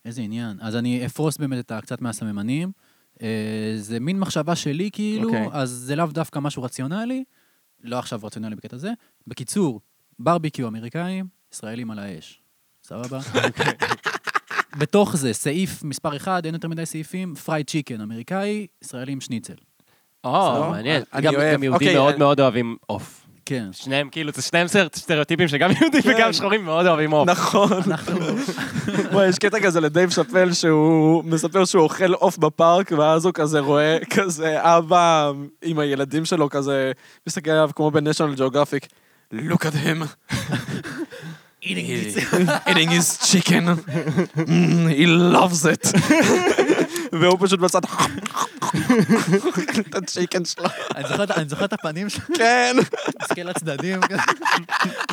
איזה עניין. אז אני אפרוס באמת את ה- קצת מהסממנים. אה, זה מין מחשבה שלי, כאילו,
אוקיי.
אז זה לאו דווקא משהו רציונלי, לא עכשיו רציונלי בקטע זה. בקיצור, ברביקיו אמריקאים, ישראלים על האש. סבבה? בתוך זה, סעיף מספר 1, אין יותר מדי סעיפים, פרייד צ'יקן אמריקאי, ישראלים שניצל.
או,
סבבה.
מעניין.
אני
גם
אוהב.
גם יהודים
אוקיי,
מאוד
אני-
מאוד אוהבים עוף.
כן.
שניהם, כאילו, זה שניהם סטר- סטריאוטיפים שגם יהודים
כן.
וגם שחורים מאוד אוהבים עוף.
נכון. וואי, יש קטע כזה לדייב שאפל שהוא מספר שהוא אוכל עוף בפארק, ואז הוא כזה רואה כזה אבא עם הילדים שלו כזה, מסתכל עליו כמו בניישונל ג'אוגרפיק. Look at him, eating his chicken, Mm, he loves it. והוא פשוט בצד, את הצ'יקן שלו.
אני זוכר את- אני זוכר את הפנים שלו,
כן.
מסתכל לצדדים. כזה.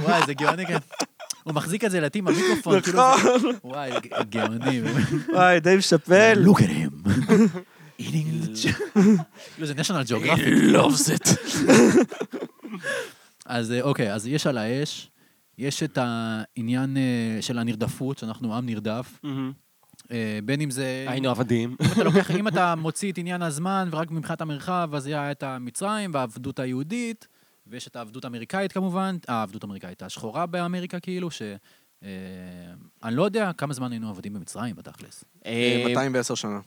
וואי, זה גאוני כזה. הוא מחזיק את זה לעתים במיקרופון, כאילו
נכון.
זה... וואי, גאוני.
כן. וואי, דייב שאפל.
Look at him. eating the ch- כאילו זה national geographic.
loves it.
אז אה, אוקיי, אז יש על האש, יש את העניין אה, של הנרדפות, שאנחנו עם נרדף, אה, בין אם זה...
היינו עבדים.
אם אתה לוקח, אם אתה מוציא את עניין הזמן, ורק מבחינת המרחב, אז היה את המצרים והעבדות היהודית, ויש את העבדות האמריקאית כמובן, העבדות האמריקאית השחורה באמריקה כאילו, ש... אה, אני לא יודע כמה זמן היינו עבדים במצרים בתכלס.
אה, 210 שנה.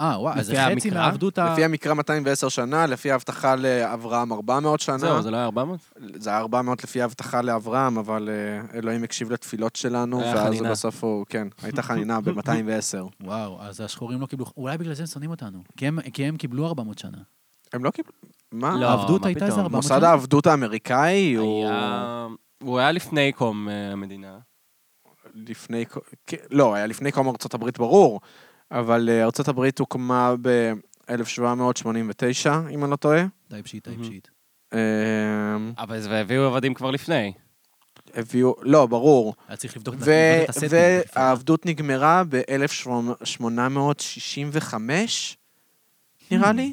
אה, וואי, אז זה
לפי
חצי
המקרא?
מהעבדות ה...
לפי המקרא 210 שנה, לפי ההבטחה לאברהם 400 שנה.
זהו, זה לא היה 400?
זה היה 400 לפי ההבטחה לאברהם, אבל אה, אלוהים הקשיב לתפילות שלנו,
היה
ואז
חנינה.
בסוף הוא, כן, הייתה חנינה ב-210.
וואו, אז השחורים לא קיבלו... אולי בגלל זה הם שונאים אותנו. כי הם- כי הם קיבלו 400 שנה.
הם לא קיבלו... מה?
לא,
העבדות
מה
הייתה איזה
פתאום.
400
מוסד
שנה.
העבדות האמריקאי הוא
היה- הוא היה לפני קום אה, המדינה.
לפני... ק- כ- לא, היה לפני קום ארצות הברית, ברור, אבל אה, ארצות הברית הוקמה ב-1789, אם אני לא טועה.
טייפשיט, טייפשיט.
אה,
אבל זה הביאו עבדים כבר לפני.
הביאו... לא, ברור.
היה צריך לבדוק את
ו-
לבדוק את הסטים.
והעבדות נגמרה ב-1865,
Hmm.
נראה לי.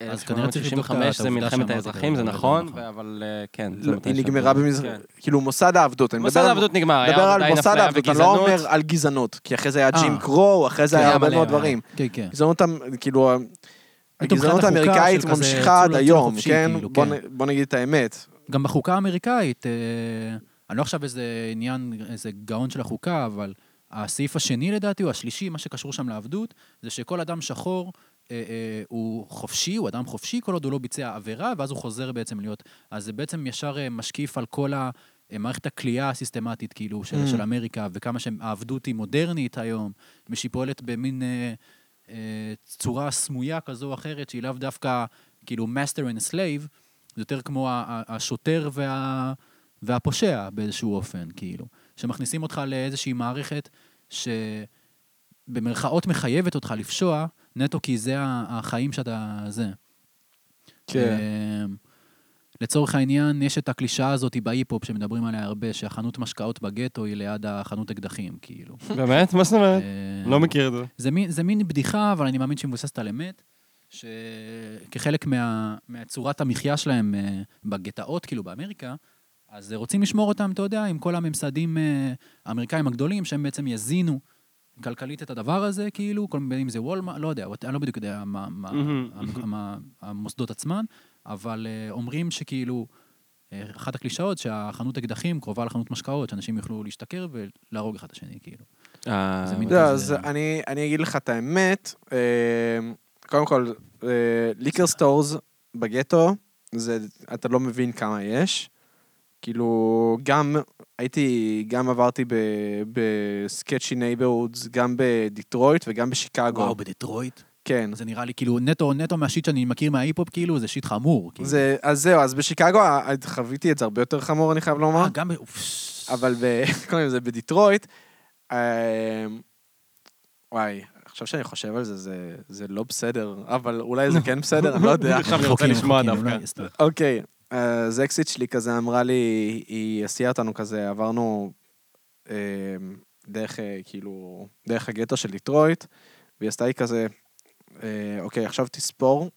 אז כנראה צריך לבדוק את
1965 זה
העובדה
מלחמת
שאמרתי
האזרחים, זה
כרגע,
נכון,
נכון.
ו- אבל אה, כן. זה
לא,
מתי
היא
שם.
נגמרה במזרח...
כן.
כאילו, מוסד העבדות. אני
מוסד
מדבר על-
העבדות נגמר, היה
מדבר על
עדיין
מוסד
אפליה
העבדות, אני לא
וגזענות.
אומר על גזענות, כי אחרי זה היה
אה.
ג'ים קרו, אחרי זה
כן,
היה
היה
הרבה
מלא,
מאוד
היה.
דברים.
כן,
אה.
כן.
גזענות, המ- כאילו,
פתאום
הגזענות
מבחינת החוקה
האמריקאית
של כזה
ממשיכה עד
צלול
היום,
חופשי,
כן?
כאילו,
בוא
כן.
נ- בוא נגיד את האמת.
גם בחוקה האמריקאית, אה, אני לא עכשיו איזה עניין, איזה גאון של החוקה, אבל הסעיף השני לדעתי, או השלישי, מה שקשור שם לעבדות, זה שכל אדם שחור אה, אה, הוא חופשי, הוא אדם חופשי, כל עוד הוא לא ביצע עבירה, ואז הוא חוזר בעצם להיות... אז זה בעצם ישר אה, משקיף על כל ה... אה, מערכת הכליאה הסיסטמטית, כאילו, של,
Mm.
של אמריקה, וכמה שהעבדות היא מודרנית היום, ושהיא פועלת במין אה, אה, צורה סמויה כזו או אחרת, שהיא לאו דווקא, כאילו, master and slave, זה יותר כמו ה- ה- השוטר וה... והפושע באיזשהו אופן, כאילו. שמכניסים אותך לאיזושהי מערכת שבמרכאות מחייבת אותך לפשוע, נטו כי זה ה- החיים שאתה... זה.
כן.
אמ, לצורך העניין, יש את הקלישאה הזאת בהיפ-הופ שמדברים עליה הרבה, שהחנות משקאות בגטו היא ליד החנות אקדחים, כאילו.
אה, באמת? מה זאת אומרת?
אמ,
כן. לא מכיר את זה.
זה מין, זה מין בדיחה, אבל אני מאמין שהיא מבוססת על אמת, שכחלק מה, מהצורת המחיה שלהם אה, בגטאות, כאילו באמריקה, אז אה, רוצים לשמור אותם, אתה יודע, עם כל הממסדים אה, האמריקאים הגדולים, שהם בעצם יזינו כלכלית את הדבר הזה, כאילו, כל מיני אם זה וולמה, לא יודע, אני לא בדיוק יודע מה, מה,
מהמם.
המ- המ- המוסדות עצמן, אבל אה, אומרים שכאילו, אה, אחת הקלישאות, שהחנות אקדחים קרובה לחנות משקאות, שאנשים יוכלו להשתכר ולהרוג אחד את השני, כאילו.
אה,
זה מין-
לא,
כזה-
אז אני אני אגיד לך את האמת. אה, קודם כל, ליקר סטורס בגטו, זה, אתה לא מבין כמה יש. כאילו, גם הייתי, גם עברתי בסקצ'י נייברודס, גם בדיטרויט וגם בשיקגו.
וואו, בדטרויט.
כן.
זה נראה לי כאילו נטו, נטו מהשיט שאני מכיר מההיפ-הופ, כאילו, זה שיט חמור. כאילו.
זה, אז זהו, אז בשיקגו אה, חוויתי את זה הרבה יותר חמור, אני חייב לומר.
אה, גם... ב-
אבל ב- קודם זה בדיטרויט. אה, וואי, עכשיו שאני חושב על זה, זה, זה לא בסדר, אבל אולי זה כן בסדר, אני לא יודע.
נכון.
עכשיו אני רוצה
חוקים,
לשמוע
חוקים,
דווקא.
לא, סתם.
אוקיי, אז אקסיט שלי כזה אמרה לי, היא הסיעה אותנו כזה, עברנו אה, דרך, אה, כאילו, דרך הגטו של דיטרויט, והיא עשתה לי כזה, אה, אוקיי, עכשיו תספור,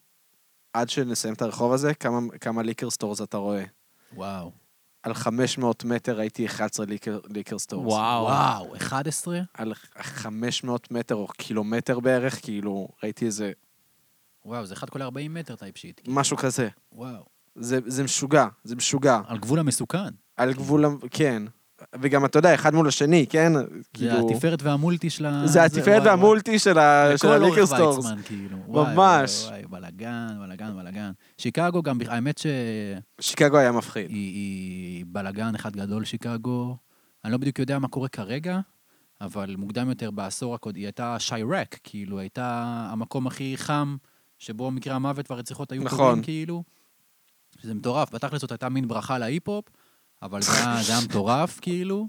עד שנסיים את הרחוב הזה, כמה, כמה ליקר סטורס אתה רואה.
וואו.
על 500 מטר ראיתי 11 ליקר, ליקר סטורס.
וואו, 11?
על 500 מטר או קילומטר בערך, כאילו, ראיתי איזה
וואו, זה 1 כל 40 מטר טייפ שיט. כאילו.
משהו כזה.
וואו.
זה, זה משוגע, זה משוגע.
על גבול המסוכן.
על גבול, ה- כן. וגם אתה יודע, אחד מול השני, כן?
זה התפארת והמולטי של ה...
זה התפארת
וואי,
והמולטי של ה-
וואי.
של
לכל
הליקר
אורך
סטורס.
ויצמן, כאילו.
ממש.
וואי, וואי, בלאגן, בלאגן, בלאגן. שיקגו גם, האמת שהיא
שיקגו היה מפחיד.
היא בלאגן אחד גדול, שיקגו. אני לא בדיוק יודע מה קורה כרגע, אבל מוקדם יותר בעשור הקודם, היא הייתה שיירק, כאילו, הייתה המקום הכי חם שבו מקרי המוות והרציחות היו
נכון.
קורים, כאילו. שזה מטורף, בתכלס זאת הייתה מין ברכה להיפ-הופ, אבל זה היה, זה היה מטורף, כאילו.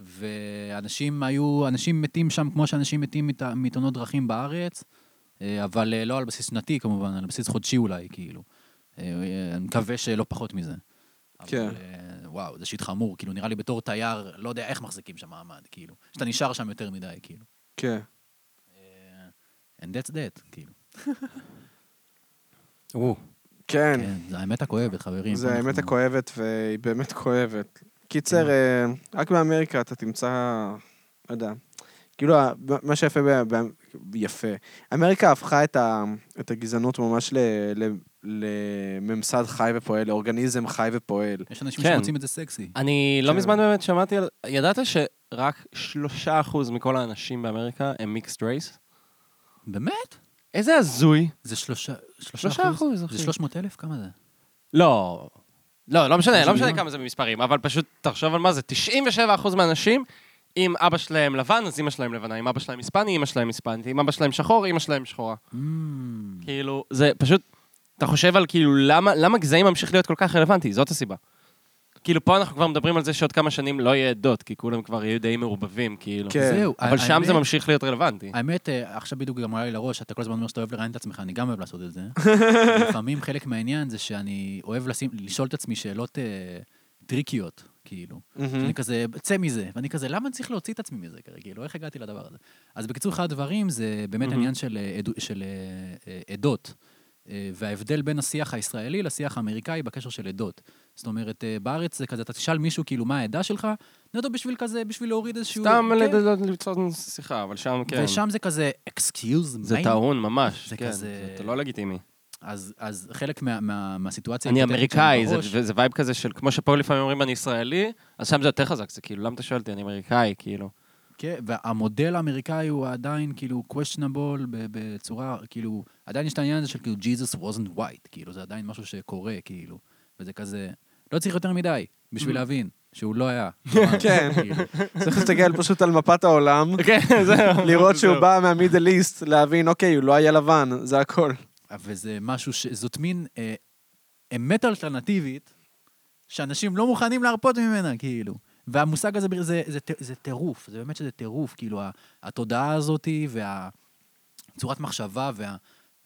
ואנשים היו, אנשים מתים שם כמו שאנשים מתים מת- מתאונות דרכים בארץ, אה, אבל אה, לא על בסיס שנתי כמובן, על בסיס חודשי אולי, כאילו. אה, אה, אני מקווה שלא פחות מזה. אבל,
כן.
אה, וואו, זה שיט חמור, כאילו, נראה לי בתור תייר, לא יודע איך מחזיקים שם מעמד,
Mm-hmm.
כאילו. שאתה נשאר שם יותר מדי, כאילו.
כן.
And that's that, כאילו.
או,
כן,
כן, זה האמת הכואבת, חברים.
זה
אנחנו-
האמת הכואבת, והיא באמת כואבת. קיצר, אה, רק באמריקה אתה תמצא, לא יודע, כאילו, ה- מה שיפה, ב- ב- יפה. אמריקה הפכה את ה- את הגזענות ממש ל- ל- לממסד חי ופועל, לאורגניזם חי ופועל.
יש אנשים
כן.
שמוצאים את זה סקסי.
אני לא
כן.
מזמן באמת שמעתי על... ידעת שרק שלושה אחוז מכל האנשים באמריקה הם מיקסט רייס?
באמת?
איזה הזוי.
זה שלושה שלושה
שלושה
אחוז?
אחוז, אחי.
זה 300 אלף? כמה זה?
לא. לא, לא משנה,
משנה
לא משנה
מה?
כמה זה במספרים, אבל פשוט תחשוב על מה זה. 97% מהאנשים, אם אבא שלהם לבן, אז אמא שלהם לבנה. אם אבא שלהם היספני, אמא שלהם היספנית. אם אבא שלהם שחור, אמא שלהם שחורה.
Mm.
כאילו, זה פשוט... אתה חושב על כאילו, למה, למה גזעים ממשיך להיות כל כך רלוונטי? זאת הסיבה. כאילו, פה אנחנו כבר מדברים על זה שעוד כמה שנים לא יהיה עדות, כי כולם כבר יהיו די מעורבבים, כאילו.
כן.
זהו.
אבל שם זה
האמת-
ממשיך להיות רלוונטי.
האמת, אה, עכשיו בדיוק גם עלה לי לראש, אתה כל הזמן אומר שאתה אוהב לראיין את עצמך, אני גם אוהב לעשות את זה. לפעמים חלק מהעניין זה שאני אוהב לשים, לשאול את עצמי שאלות אה, טריקיות, כאילו. שאני כזה, צא מזה, ואני כזה, למה אני צריך להוציא את עצמי מזה כרגע? כאילו, איך הגעתי לדבר הזה? אז בקיצור, אחד הדברים זה באמת
Mhm.
עניין של, אה, עדו- של אה, אה, עדות, אה, וההבדל בין השיח הישראלי לשיח האמריקאי בקשר של עדות. זאת אומרת, אה, בארץ זה כזה, אתה תשאל מישהו כאילו מה העדה שלך, נטו בשביל כזה, בשביל להוריד איזשהו...
סתם
כן.
לד- למצוא שיחה, אבל שם כן.
ושם זה כזה, אקסקיוז מי?
זה טעון ממש.
זה
כן,
כזה-
זה לא לגיטימי.
אז, אז חלק מה, מה, מהסיטואציה...
אני
הכותרת שאני
אמריקאי, זה-
בראש-
וזה וייב כזה של, כמו שפה לפעמים אומרים אני ישראלי, אז שם זה יותר חזק, זה כאילו, למה אתה שואל אותי, אני אמריקאי, כאילו.
כן, והמודל האמריקאי הוא עדיין כאילו questionable ב- בצורה, כאילו, עדיין יש את העניין הזה של כאילו Jesus wasn't white, כאילו, זה עדיין משהו שקורה, כאילו, וזה כזה, לא צריך יותר מדי בשביל להבין שהוא לא היה.
כן.
כאילו.
צריך להסתכל פשוט על מפת העולם,
כן, זהו.
לראות שהוא בא מהמידל איסט, להבין, אוקיי, הוא לא היה לבן, זה הכל.
וזה משהו ש... זאת מין אה, אמת אלטרנטיבית, שאנשים לא מוכנים להרפות ממנה, כאילו. והמושג הזה זה, זה, זה, ט- זה טירוף, זה באמת שזה טירוף, כאילו, ה- התודעה הזאתי והצורת מחשבה וה...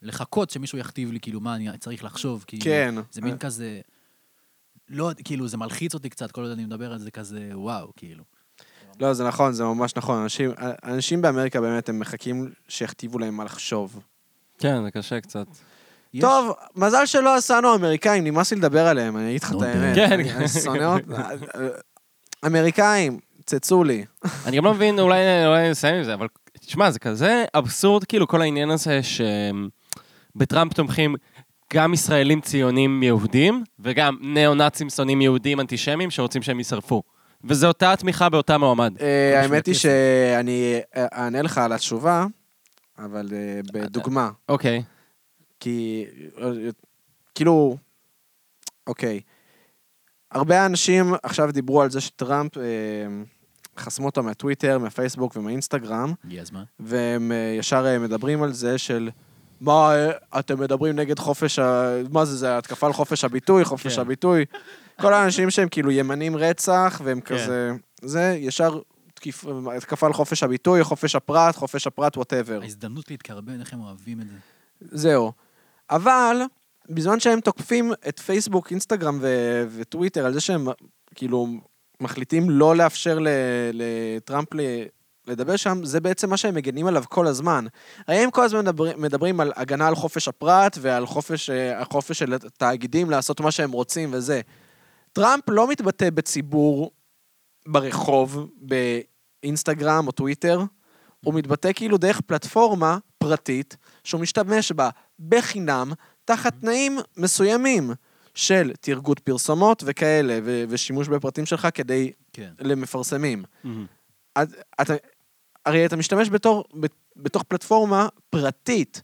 לחכות שמישהו יכתיב לי, כאילו, מה אני צריך לחשוב, כאילו.
כן.
זה מין כזה... לא, כאילו, זה מלחיץ אותי קצת, כל עוד אני מדבר על זה כזה, וואו, כאילו.
לא, זה נכון, זה ממש נכון. אנשים, אנשים באמריקה באמת, הם מחכים שיכתיבו להם מה לחשוב.
כן, זה קשה קצת.
יש-
טוב, מזל שלא עשינו אמריקאים, נמאס לי לדבר עליהם, אני אגיד לך את
נו,
האמת.
כן,
אני-
כן.
אני שונא אותם. אמריקאים, צצו לי.
אני גם לא מבין, אולי אולי נסיים עם זה, אבל תשמע, זה כזה אבסורד, כאילו, כל העניין הזה שבטראמפ תומכים גם ישראלים ציונים יהודים, וגם ניאו-נאצים שונאים יהודים אנטישמים שרוצים שהם יישרפו. וזו אותה התמיכה באותה מועמד.
אה, האמת היא
הכסף.
שאני אה, אענה לך על התשובה, אבל אה, בדוגמה,
אוקיי.
כי אה, אה, כאילו, אוקיי. הרבה אנשים עכשיו דיברו על זה שטראמפ אה, חסמו אותו מהטוויטר, מהפייסבוק ומהאינסטגרם,
הגיע הזמן.
והם אה, ישר אה, מדברים על זה של מה, אה, אתם מדברים נגד חופש ה... מה זה, זה התקפה על חופש הביטוי, חופש
כן.
הביטוי. כל האנשים שהם כאילו ימנים רצח, והם
כן.
כזה... זה, ישר תקיפ- התקפה על חופש הביטוי, חופש הפרט, חופש הפרט, וואטאבר.
ההזדמנות להתקרבן, איך הם אוהבים את זה.
זהו. אבל, בזמן שהם תוקפים את פייסבוק, אינסטגרם ו- וטוויטר על זה שהם כאילו מחליטים לא לאפשר ל- לטראמפ ל- לדבר שם, זה בעצם מה שהם מגנים עליו כל הזמן. הרי הם כל הזמן מדברים, מדברים על הגנה על חופש הפרט ועל חופש, אה, החופש של התאגידים לעשות מה שהם רוצים וזה. טראמפ לא מתבטא בציבור ברחוב, באינסטגרם או טוויטר, הוא מתבטא כאילו דרך פלטפורמה פרטית שהוא משתמש בה בחינם, תחת תנאים מסוימים של תרגות פרסומות וכאלה, ו- ושימוש בפרטים שלך כדי
כן.
למפרסמים. אז אתה, הרי אתה משתמש בתור, ב- בתוך פלטפורמה פרטית.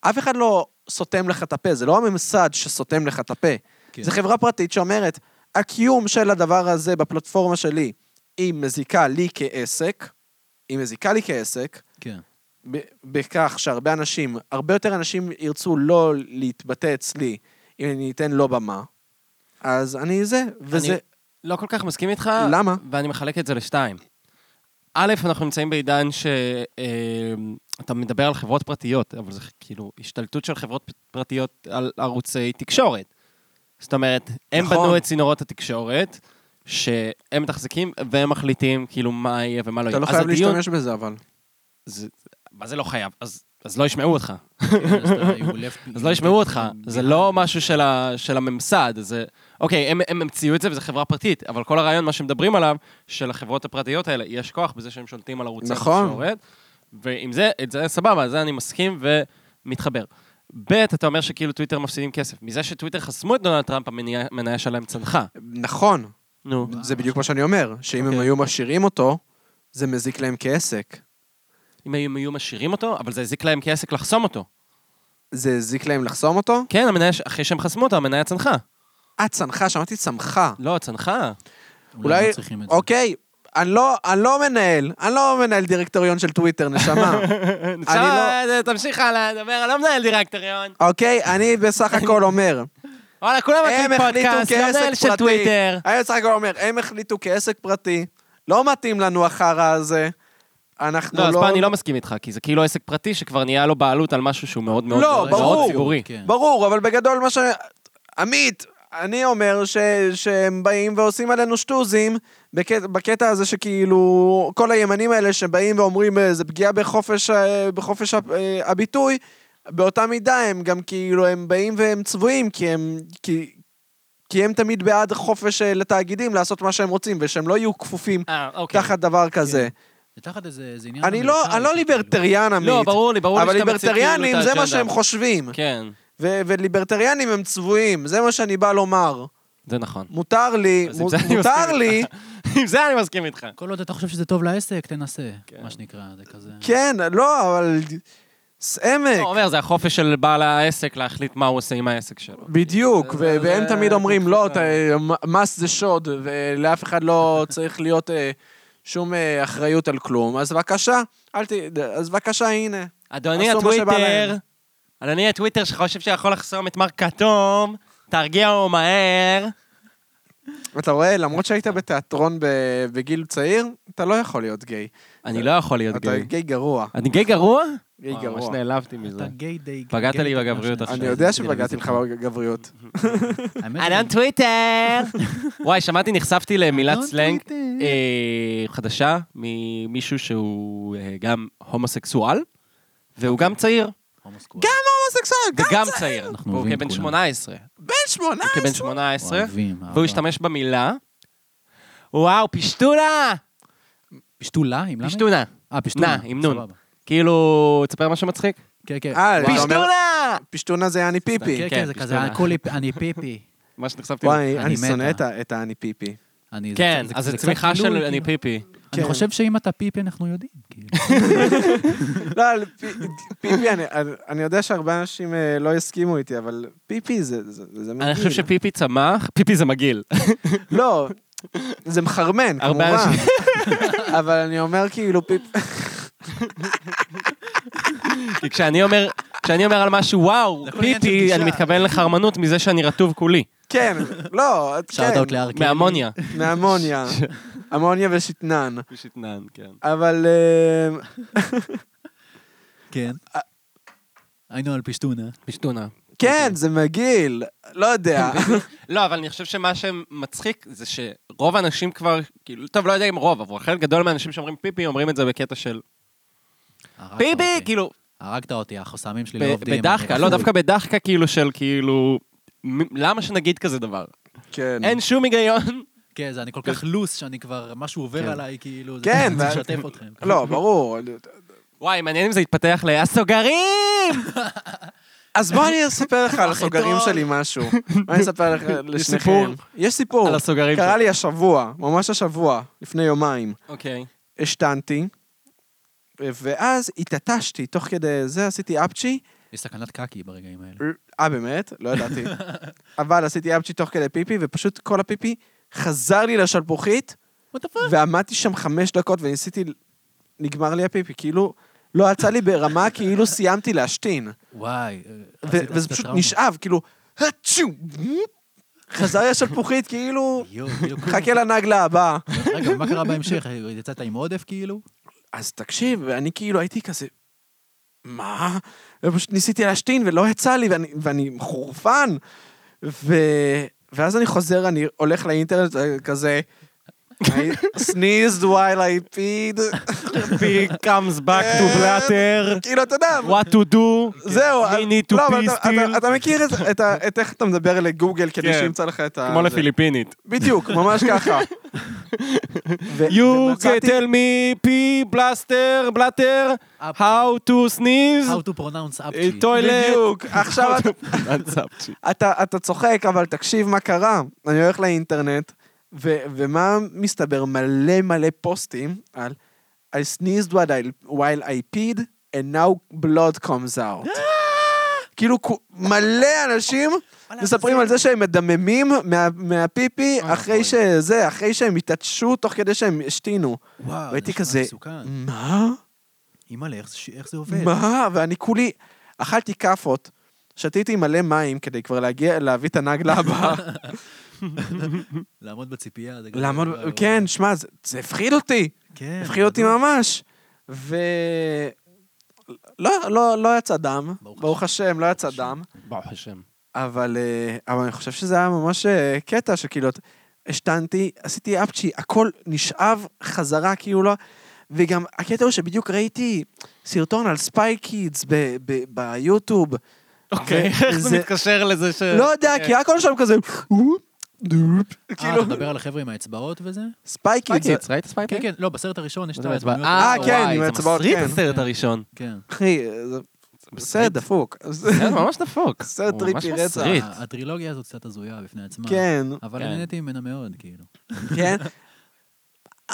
אף אחד לא סותם לך את הפה, זה לא הממסד שסותם לך את הפה.
כן.
כן. זו חברה פרטית שאומרת, הקיום של הדבר הזה בפלטפורמה שלי, היא מזיקה לי כעסק, היא מזיקה לי כעסק,
כן.
ב- בכך שהרבה אנשים, הרבה יותר אנשים ירצו לא להתבטא אצלי, אם אני אתן לו במה, אז אני זה, וזה...
לא כל כך מסכים איתך.
למה?
ואני מחלק את זה לשתיים. א', אנחנו נמצאים בעידן שאתה מדבר על חברות פרטיות, אבל זה כאילו השתלטות של חברות פ- פרטיות על ערוצי תקשורת. זאת אומרת, הם
נכון.
בנו את צינורות התקשורת, שהם מתחזקים והם מחליטים כאילו מה יהיה ומה לא יהיה.
אתה לא
אז
חייב
הדיון-
להשתמש בזה, אבל.
זה- מה זה לא חייב? אז אז לא ישמעו אותך.
כן, אז אתה- you left
אז לא ישמעו אותך. זה לא משהו של, ה, של הממסד, זה... אוקיי, הם, הם המציאו את זה וזו חברה פרטית, אבל כל הרעיון, מה שמדברים עליו, שלחברות הפרטיות האלה יש כוח בזה שהם שולטים על ערוצי
נכון.
התקשורת, ועם זה, את זה סבבה, על זה אני מסכים ומתחבר. ב', אתה אומר שכאילו טוויטר מפסידים כסף. מזה שטוויטר חסמו את דונלד טראמפ, המניה המניה שלהם צנחה.
נכון,
נו.
זה בדיוק מה שאני אומר, שאם הם
אוקיי.
היו משאירים אותו, זה מזיק להם כעסק.
אם הם היו משאירים אותו, אבל זה הזיק להם כעסק לחסום אותו.
זה הזיק להם לחסום אותו?
כן, המניה, ש- אחרי שהם חסמו אותו, המניה צנחה.
אה, צנחה, שמעתי צמחה.
לא, צנחה.
אולי...
אולי-
לא צריכים את זה.
אוקיי, אני לא, אני לא מנהל, אני לא מנהל דירקטוריון של טוויטר, נשמה. לא-
נשמה, תמשיך הלאה, דבר, אני לא מנהל דירקטוריון.
אוקיי, אני בסך הכל אומר,
וואלה, כולם
הם
מקליטים
החליטו
פודקאסט, לא מנהל
כעסק
של
פרטי.
טוויטר.
אני בסך הכל אומר, הם החליטו כעסק פרטי, לא מתאים לנו החרא הזה, אנחנו לא...
לא, אז פה אני לא מסכים איתך, כי זה כאילו עסק פרטי שכבר נהיה לו בעלות על משהו שהוא מאוד מאוד
לא,
מאוד
ברור.
ציבורי.
כן.
ברור, אבל בגדול מה ש... עמית, אני אומר ש... שהם באים ועושים עלינו שטוזים בקט... בקטע הזה שכאילו כל הימנים האלה שבאים ואומרים אה, זה פגיעה בחופש, אה, בחופש ה- אה, הביטוי, באותה מידה הם גם כאילו הם באים והם צבועים כי הם... כי... כי הם תמיד בעד חופש אה, לתאגידים לעשות מה שהם רוצים, ושהם לא יהיו כפופים
אה, אוקיי. כן.
תחת דבר כזה.
זה תחת איזה איזה עניין...
אני לא,
אמריקאי
אני לא
שכאילו-
ליברטריאן, עמית.
לא, ברור לי, ברור לי
אבל
שאתה מציג כאילו את
ליברטריאנים זה מה
האג'נדה.
שהם חושבים.
כן,
ו- וליברטריאנים הם צבועים, זה מה שאני בא לומר.
זה נכון.
מותר לי,
אז עם זה אני
מ- מותר
מסכים
לי,
עם זה אני מסכים איתך.
כאילו, כל עוד אתה חושב שזה טוב לעסק, תנסה,
כן.
מה שנקרא, זה כזה...
כן, לא, אבל... סעמק,
הוא אומר, זה החופש של בעל העסק להחליט מה הוא עושה עם העסק שלו.
בדיוק,
זה-
ו-
זה-
והם
זה-
תמיד אומרים,
זה-
לא, אתה- מ- מס זה שוד, ולאף אחד לא צריך להיות אה, שום אה, אחריות על כלום, אז בבקשה, אל ת... אז בבקשה, הנה.
אדוני
עשו מה שבא
הטוויטר,
להם.
אדוני הטוויטר שחושב שיכול לחסום את מר כתום, תרגיעו מהר.
אתה רואה, למרות שהיית בתיאטרון ב- בגיל צעיר, אתה לא יכול להיות גיי.
אני לא יכול להיות
אתה
גיי.
גיי גרוע.
אני גיי גרוע?
גיי
וואו, ממש
גרוע.
נעלבתי מזה.
אתה גיי די...
פגעת
גיי
לי
די- כאילו,
בגבריות עכשיו.
אני יודע שפגעתי לך בגבריות.
האמת
אדון
שאני-
טוויטר! וואי, שמעתי, נחשפתי למילת
אדון
סלנג
טוויטר.
אה, חדשה ממישהו שהוא אה, גם הומוסקסואל, והוא
אוקיי.
גם צעיר.
הומוסקואל.
הומוסקסואל,
וגם צעיר.
אנחנו
והוא
אוהבים
כבן
כולם. אה,
18.
בן שמונה
הוא כבן 18,
אוהבים,
והוא
אהבה.
השתמש במילה, וואו, פשטונה!
פשטולה עם למה?
פשטונה.
אה, פשטולה.
נע, עם נון.
סבבה.
כאילו, תספר משהו מצחיק?
כן, כן.
אה,
וואו.
אתה אומר-
פשטונה!
פשטונה זה אני פיפי.
כן, כן, זה
כן,
כזה,
פשטונה.
הכולי, אני פיפי.
מה שנחשפתי.
וואי,
אני
אני
מתה.
שונא את ה- את האני פיפי.
אני- זה-
כן,
זה-
אז
זה
זו
קצת
צמיחה
כאילו,
של אני
כאילו,
פיפי.
אני
כן.
חושב שאם אתה פיפי, אנחנו יודעים. כאילו.
לא, על פי- פיפי, אני- אני- אני יודע שהרבה אנשים אה, לא יסכימו איתי, אבל פיפי זה זה- זה מגעיל.
אני חושב שפיפי צמח, פיפי זה מגעיל.
לא, זה מחרמן,
הרבה
כמובן.
אנשים-
אבל אני אומר כאילו פיפ...
כי כשאני אומר, כשאני אומר על משהו וואו,
הכל עניין של
פיפי,
גישה.
אני מתכוון לחרמנות מזה שאני רטוב כולי.
כן, לא, את-
שאוט אאוט
כן,
לארקי.
מאמוניה.
מאמוניה. אמוניה ושתנן.
שתנן, כן.
אבל... אה,
כן. היינו על פשטונה.
פשטונה.
כן, זה מגעיל, לא
אה.
יודע.
לא, אבל אני חושב שמה שמצחיק זה שרוב האנשים כבר, כאילו, טוב, לא יודע אם רוב, אבל חלק גדול מהאנשים שאומרים פיפי אומרים את זה בקטע של
הרגת
פיפי,
אותי.
כאילו,
הרגת אותי, החסמים שלי אוקיי. לא
ב-
עובדים.
בדחקה,
אני
לא,
רפוי.
דווקא בדחקה, כאילו, של כאילו, מ- למה שנגיד כזה דבר?
כן.
אין שום היגיון.
כן, זה אני כל כך לוס, שאני כבר, משהו
כן.
עובר עליי, כאילו, זה-
כן,
זה
ואז-
משתף אתכם.
לא, ברור.
וואי, מעניין אם זה יתפתח ל"הסוגרים!"
אז בוא אני אספר לך על הסוגרים שלי משהו. בוא אני אספר לך לשניכם.
סיפור?
יש סיפור.
על הסוגרים
קרה
שלי.
לי השבוע, ממש השבוע, לפני יומיים.
אוקיי.
השתנתי, ואז התעטשתי, תוך כדי זה עשיתי אפצ'י.
יש סכנת קקי ברגעים האלה.
אה, באמת? לא ידעתי. אבל עשיתי אפצ'י תוך כדי פיפי, ופשוט כל הפיפי חזר לי לשלפוחית,
וואט הפאק?
ועמדתי שם חמש דקות וניסיתי... נגמר לי הפיפי, כאילו... לא יצא לי ברמה כאילו סיימתי להשתין.
וואי. אה,
ו-
עשית-
וזה
עשית
פשוט
טראומה.
נשאב, כאילו, הצ'ו, חזר יש שלפוחית, כאילו,
יואו, בדיוק.
חכה לנגלה הבאה.
רגע, מה קרה בהמשך? יצאת עם עודף, כאילו?
אז תקשיב, ואני כאילו הייתי כזה, מה? ופשוט ניסיתי להשתין ולא יצא לי, ואני, ואני חורפן. ו... ואז אני חוזר, אני הולך לאינטרנט אה, כזה, I sneezed while I peed.
פי comes back to blatter,
כאילו, אתה יודע,
what to do,
זהו.
we need to
לא, אבל
pee
אתה- אתה-
still.
אתה מכיר את- את ה- את איך אתה מדבר לגוגל כדי
כן.
שימצא לך את ה...
כמו
זה.
לפיליפינית.
בדיוק, ממש ככה. ו-
You
ומצאתי-
tell me פי בלסטר, בלאטר, how to sneeze,
How to pronounce up
אה, toilet.
בדיוק, עכשיו אתה- אתה, אתה צוחק, אבל תקשיב מה קרה. אני הולך לאינטרנט, ו, ומה מסתבר? מלא מלא פוסטים על I sneezed while I, while I peed, and now blood comes out. כאילו, כו- מלא אנשים מספרים על זה שהם מדממים מה, מהפיפי אחרי שזה, אחרי שהם התעטשו תוך כדי שהם השתינו.
וואו,
והייתי
הייתי
כזה,
כזה... מסוכן.
מה?
אימא'לה, איך זה- איך זה עובד?
מה? ואני כולי... אכלתי כאפות, שתיתי מלא מים כדי כבר להגיע, להביא את הנגלה הבאה.
לעמוד בציפייה. זה גם- כאילו,
לעמוד... כן, שמע, זה- זה הפחיד אותי.
לא? כן.
הפחיד אותי
בטוח.
ממש. ו... לא, לא, לא יצא דם.
ברוך
ברוך השם, לא יצא דם.
ברוך השם.
אבל, אה, אבל אני חושב שזה היה ממש אה, קטע שכאילו, השתנתי, עשיתי אפצ'י, הכל נשאב חזרה, כאילו לא... וגם הקטע הוא שבדיוק ראיתי סרטון על ספיי קידס ב- ב- ביוטיוב.
אוקיי, איך
וזה-
זה מתקשר לזה ש... אה,
לא יודע, כי הכל שם כזה...
אה,
כאילו, כן,
אתה מדבר על החבר'ה עם האצבעות וזה?
ספיי קידס.
ספייקיץ, ראית ספייקיץ?
כן, כן, לא, בסרט הראשון יש את
זה
הדמויות.
באצבע-
אה,
האלה.
כן,
וואי,
עם האצבעות,
זה
כן.
מסריט הסרט הראשון.
כן.
אחי, זה בסרט דפוק.
זה ממש דפוק.
סרט
הוא ממש
טריפי רצח.
מסריט.
ה- הטרילוגיה הזאת קצת הזויה בפני עצמה.
כן,
אבל
כן.
נהניתי ממנה מאוד, כאילו.
כן.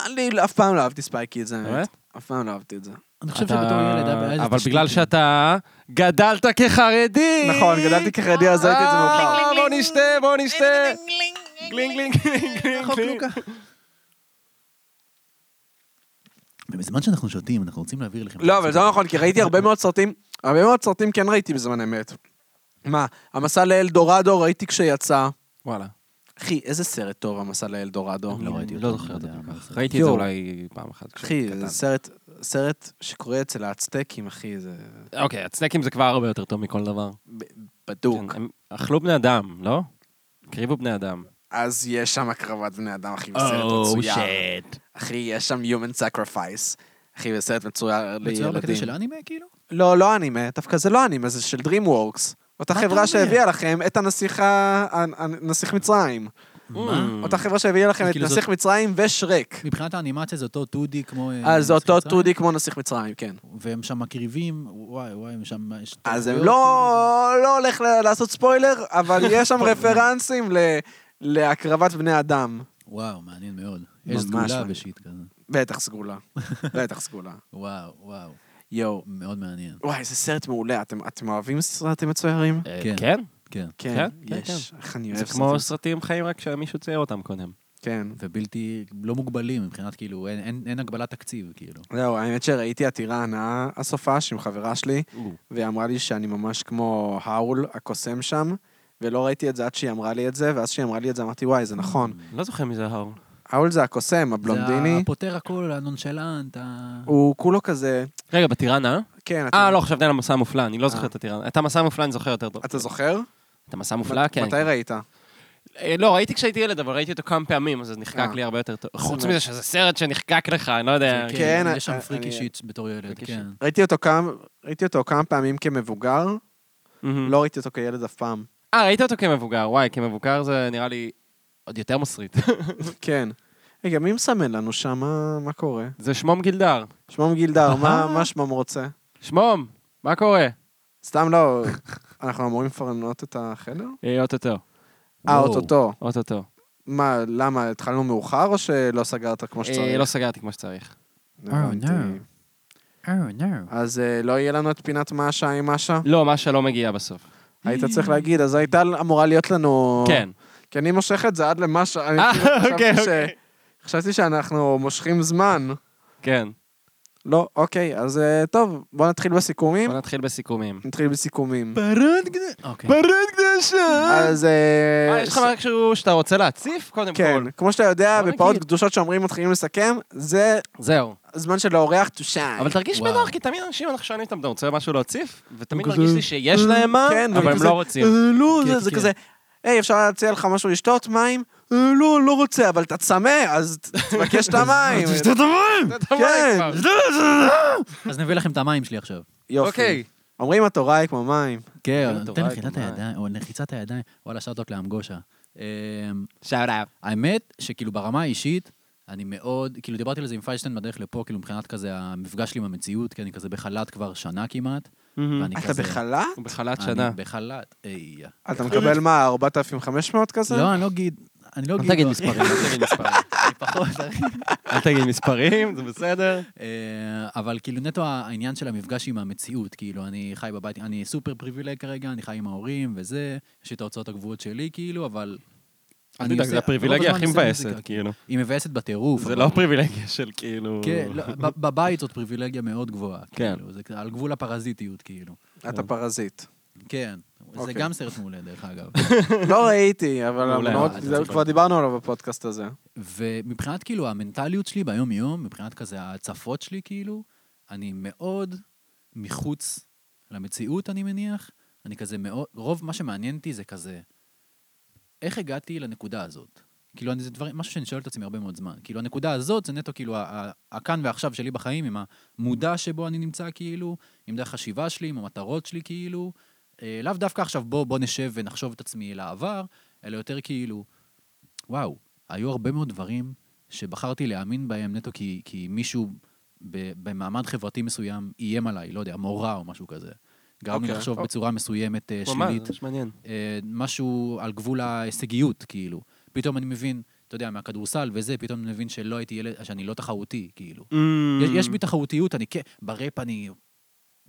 אני אף פעם לא אהבתי ספיי קידס,
באמת?
האמת. אף פעם לא אהבתי את זה.
אני חושב
אתה-
שבתור ילד היה בעיה.
אבל בגלל שאתה גדלת כחרדי!
נכון, גדלתי כחרדי, אז ראיתי את זה מאוחר.
אה, בוא נשתה, בוא נשתה! גלינג
גלינג.
גלינג גלינג גלינג.
בזמן שאנחנו שותים, אנחנו רוצים להעביר לכם.
לא, אבל זה לא נכון, כי ראיתי הרבה מאוד סרטים, הרבה מאוד סרטים כן ראיתי בזמן אמת. מה, המסע לאלדורדו ראיתי כשיצא.
וואלה.
אחי, איזה סרט טוב המסע לאלדורדו.
לא ראיתי
לא
אותו,
זוכר
לא
את זה
יודע
כל
מה
כך.
זה.
ראיתי את זה
יואו.
אולי פעם אחת.
אחי,
כשהייתי
זה
קטן.
סרט, סרט שקורה אצל האצטקים, אחי, זה
אוקיי, הצנקים זה כבר הרבה יותר טוב מכל דבר.
בדוק.
כן, הם אכלו בני אדם, לא? הקריבו בני אדם.
אז יש שם הקרבת בני אדם, אחי, בסרט
Oh,
מצויר. אחי, יש שם human sacrifice. אחי, זה סרט מצויר
מצויר בקטע
לילדים.
של אנימה, כאילו?
לא, לא אנימה, דווקא זה לא אנימה, זה של DreamWorks. אותה
מה אתה אומר?
חברה שהביאה לכם את הנסיך ה- הנ- הנסיך מצרים.
מה?
אותה חברה שהביאה לכם את
כאילו אה,
נסיך מצרים ושרק.
כן. מבחינת האנימציה זה אותו 2D כמו... אה,
אז זה אותו
מצרים? אוקיי.
2D כמו נסיך מצרים, כן.
והם שם מקריבים, וואי וואי, הם שם... יש
אז הם
טעויות,
לא לא הולך ל- לעשות ספוילר, אבל יש שם רפרנסים ל- להקרבת בני אדם.
כאילו. וואו, מעניין מאוד. יש
ממש
סגולה
מעניין.
ושיט כזה.
בטח סגולה. בטח סגולה.
וואו, וואו,
יואו.
מאוד מעניין.
וואי, איזה סרט מעולה. אתם- אתם אוהבים סרטים מצוירים?
אה,
כן.
כן?
כן.
כן,
כן,
יש. איך אני
זה
אוהב
כמו
סרטים.
סרטים חיים רק שמישהו צייר אותם קודם.
כן.
ובלתי, לא מוגבלים מבחינת כאילו, אין- אין אין הגבלת תקציב, כאילו.
זהו, האמת שראיתי עתירה הנאה הסופש עם חברה שלי, והיא אמרה לי שאני ממש כמו האול הקוסם שם, ולא ראיתי את זה עד שהיא אמרה לי את זה, ואז שהיא אמרה לי את זה אמרתי, וואי, זה נכון.
לא זוכר מי זה האור.
האול זה הקוסם,
זה
הבלונדיני,
הפותר הכול, הנונשלנט, ה...
הוא כולו כזה,
רגע, בטירנה?
כן, אתה-
אה, לא, חשבתי על המסע המופלא, אני לא
אה.
זוכר את הטירנה. את המסע המופלא אני זוכר יותר טוב.
אתה זוכר?
את המסע המופלא,
מת-
כן.
מתי ראית?
אה, לא, ראיתי כשהייתי ילד, אבל ראיתי אותו כמה פעמים, אז זה נחקק
אה.
לי הרבה יותר טוב. חוץ
אומרת-
מזה שזה סרט שנחקק לך, אני לא יודע.
כן.
יש שם
אה,
פריקי
אני-
שיט בתור ילד,
פריקי
כן.
ראיתי אותו כמה- ראיתי אותו כמה פעמים כמבוגר,
מהמם.
לא ראיתי אותו כילד אף פעם.
אה, ראית אותו כמבוגר, וואי, כמבוגר זה נראה לי עוד יותר מסריט.
כן. רגע, מי מסמן לנו שם? מה- מה קורה?
זה שמום גילדר.
שמום גילדר, מה מה שמום רוצה?
שמום, מה קורה?
סתם לא, אנחנו אמורים לפנות את החדר?
אה, אוטוטו,
אה,
וואו.
אוטוטו.
אוטוטו.
מה, למה, התחלנו מאוחר או שלא סגרת כמו
אה,
שצריך?
לא אה, סגרתי כמו שצריך.
הבנתי.
Oh, no. Oh, no.
אז אה, לא יהיה לנו את פינת מאשה עם מאשה?
לא, משה לא מגיע בסוף.
היית צריך להגיד, אז הייתה אמורה להיות לנו...
אה. כן.
כי אני מושך את זה עד למאשה. אני
אה,
כאילו חשבתי
אוקיי,
ש-
אוקיי.
חשבתי שאנחנו מושכים זמן.
כן.
לא, אוקיי, אז אה, טוב, בוא נתחיל בסיכומים.
בוא נתחיל בסיכומים.
נתחיל בסיכומים.
פרד גדול. אוקיי.
פרד קדושה!
אז... אה,
אה, יש לך משהו שאתה רוצה להציף קודם
כן,
כל.
כמו שאתה יודע,
בוא
בפעות
נגיד.
קדושות שאומרים מתחילים לסכם, זה
זהו.
הזמן של האורח to shine.
אבל תרגיש
וואו.
בנוח, כי תמיד אנשים, אנחנו שואלים אותם, אתה רוצה משהו להוסיף? ותמיד
הם
מרגיש
כזה,
לי שיש להם מה,
כן,
אבל
והם
הם
כזה,
לא רוצים.
"אה, לא, זה-
כן,
זה
כן.
כזה, היי, אפשר להציע לך משהו לשתות? מים? "אה, לא, לא רוצה, אבל אתה צמא, אז ת- תבקש את המים.
תשתה את המים!
כן,
אז נביא לכם את המים שלי עכשיו.
יופי.
אוקיי.
אומרים התורה היא כמו מים.
כן,
נותן
נותן
לחיצת
לחיצת הידיים, או נחיצת הידיים. וואלה, שאוטות לאמגושה. אמ,
שאוט אפ.
האמת שכאילו ברמה האישית, אני מאוד, כאילו דיברתי על זה עם פיישטיין בדרך לפה, כאילו מבחינת כזה המפגש שלי עם המציאות, כי אני כזה בחל"ת כבר שנה כמעט, ואני
אתה
כזה...
בחל"ת?
הוא בחל"ת
אני
שנה.
בחל"ת, איי.
אתה מקבל מה, 4,500 כזה?
לא, אני לא אגיד, אני לא
אל
אגיד...
תגיד
לא.
מספרים, אל תגיד מספרים.
אני פחות, אחי.
אל תגיד מספרים, זה בסדר.
אה, אבל כאילו נטו העניין של המפגש עם המציאות, כאילו אני חי בבית, אני סופר פריבילג כרגע, אני חי עם ההורים וזה, יש לי את ההוצאות הקבועות שלי כאילו, אבל...
אל
אני
תדאג,
עושה-
זה הפריבילגיה
רוב
הכי
הזמן אני עושה
מבאסת,
מוזיקה.
כאילו.
היא מבאסת בטירוף.
זה
אבל-
לא הפריבילגיה של כאילו...
כן, לא, ב- בבית זאת פריבילגיה מאוד גבוהה.
כן.
כאילו, זה כ- על גבול הפרזיטיות, כאילו.
אתה פרזיט.
כן. זה
אוקיי.
גם סרט מעולה, דרך אגב.
לא ראיתי, אבל
מעולה.
מאוד-
אה, אתה
זה-
צריך
כבר
לראות.
דיברנו עליו בפודקאסט הזה.
ומבחינת כאילו המנטליות שלי ביום-יום, מבחינת כזה ההצפות שלי, כאילו, אני מאוד מחוץ למציאות, אני מניח. אני כזה מאוד, רוב מה שמעניין אותי זה כזה, איך הגעתי לנקודה הזאת? כאילו, אני- זה דבר, משהו שאני שואל את עצמי הרבה מאוד זמן. כאילו, הנקודה הזאת זה נטו כאילו ה- ה- הכאן ועכשיו שלי בחיים, עם המודע שבו אני נמצא, כאילו, עם דרך החשיבה שלי, עם המטרות שלי, כאילו. אה, לאו דווקא עכשיו בוא, בוא נשב ונחשוב את עצמי לעבר, אלא יותר כאילו, וואו, היו הרבה מאוד דברים שבחרתי להאמין בהם נטו כי, כי מישהו ב, במעמד חברתי מסוים איים עליי, לא יודע, מורה או משהו כזה. גרם לי
אוקיי.
לחשוב
אוקיי.
בצורה מסוימת אה,
ממש, Mm,
שלילית.
ממש מעניין.
אה, משהו על גבול ההישגיות, כאילו. פתאום אני מבין, אתה יודע, מהכדורסל וזה, פתאום אני מבין שלא הייתי ילד, שאני לא תחרותי, כאילו. יש, יש בי תחרותיות, אני כן, בראפ אני,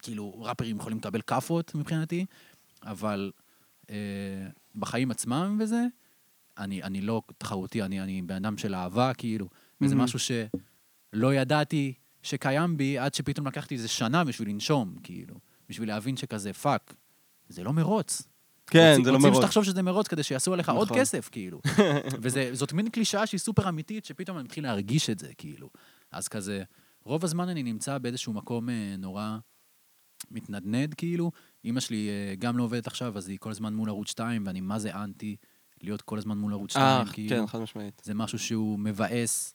כאילו, ראפרים יכולים לקבל כאפות מבחינתי, אבל אה, בחיים עצמם וזה, אני, אני לא תחרותי, אני, אני בן אדם של אהבה, כאילו, וזה
Mhm.
משהו שלא ידעתי שקיים בי, עד שפתאום לקחתי איזה שנה בשביל לנשום, כאילו, בשביל להבין שכזה, פאק, זה לא מרוץ.
כן,
רוצים-
זה לא
רוצים
מרוץ.
שתחשוב שזה מרוץ כדי שיעשו עליך עוד
נכון.
כסף, כאילו. וזאת מין קלישאה שהיא סופר אמיתית, שפתאום אני מתחיל להרגיש את זה, כאילו. אז כזה, רוב הזמן אני נמצא באיזשהו מקום אה, נורא מתנדנד, כאילו. אימא שלי אה, גם לא עובדת עכשיו, אז היא כל הזמן מול ערוץ 2, ואני מה זה אנטי להיות כל הזמן מול ערוץ 2,
אה,
כאילו.
כן, חד משמעית.
זה משהו שהוא מבאס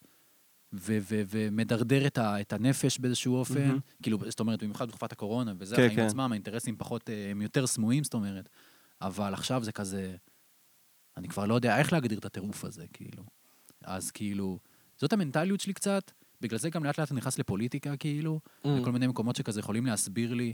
ו- ו- ומדרדר את, ה- את הנפש באיזשהו אופן.
מהמם.
כאילו, זאת אומרת, במיוחד בתקופת הקורונה, וזה
כן,
החיים
כן.
עצמם, האינטרסים פחות, אה, הם יותר סמויים, זאת אומרת. אבל עכשיו זה כזה, אני כבר לא יודע איך להגדיר את הטירוף הזה, כאילו. אז כאילו, זאת המנטליות שלי קצת, בגלל זה גם לאט לאט אני נכנס לפוליטיקה, כאילו,
Mm.
לכל מיני מקומות שכזה יכולים להסביר לי.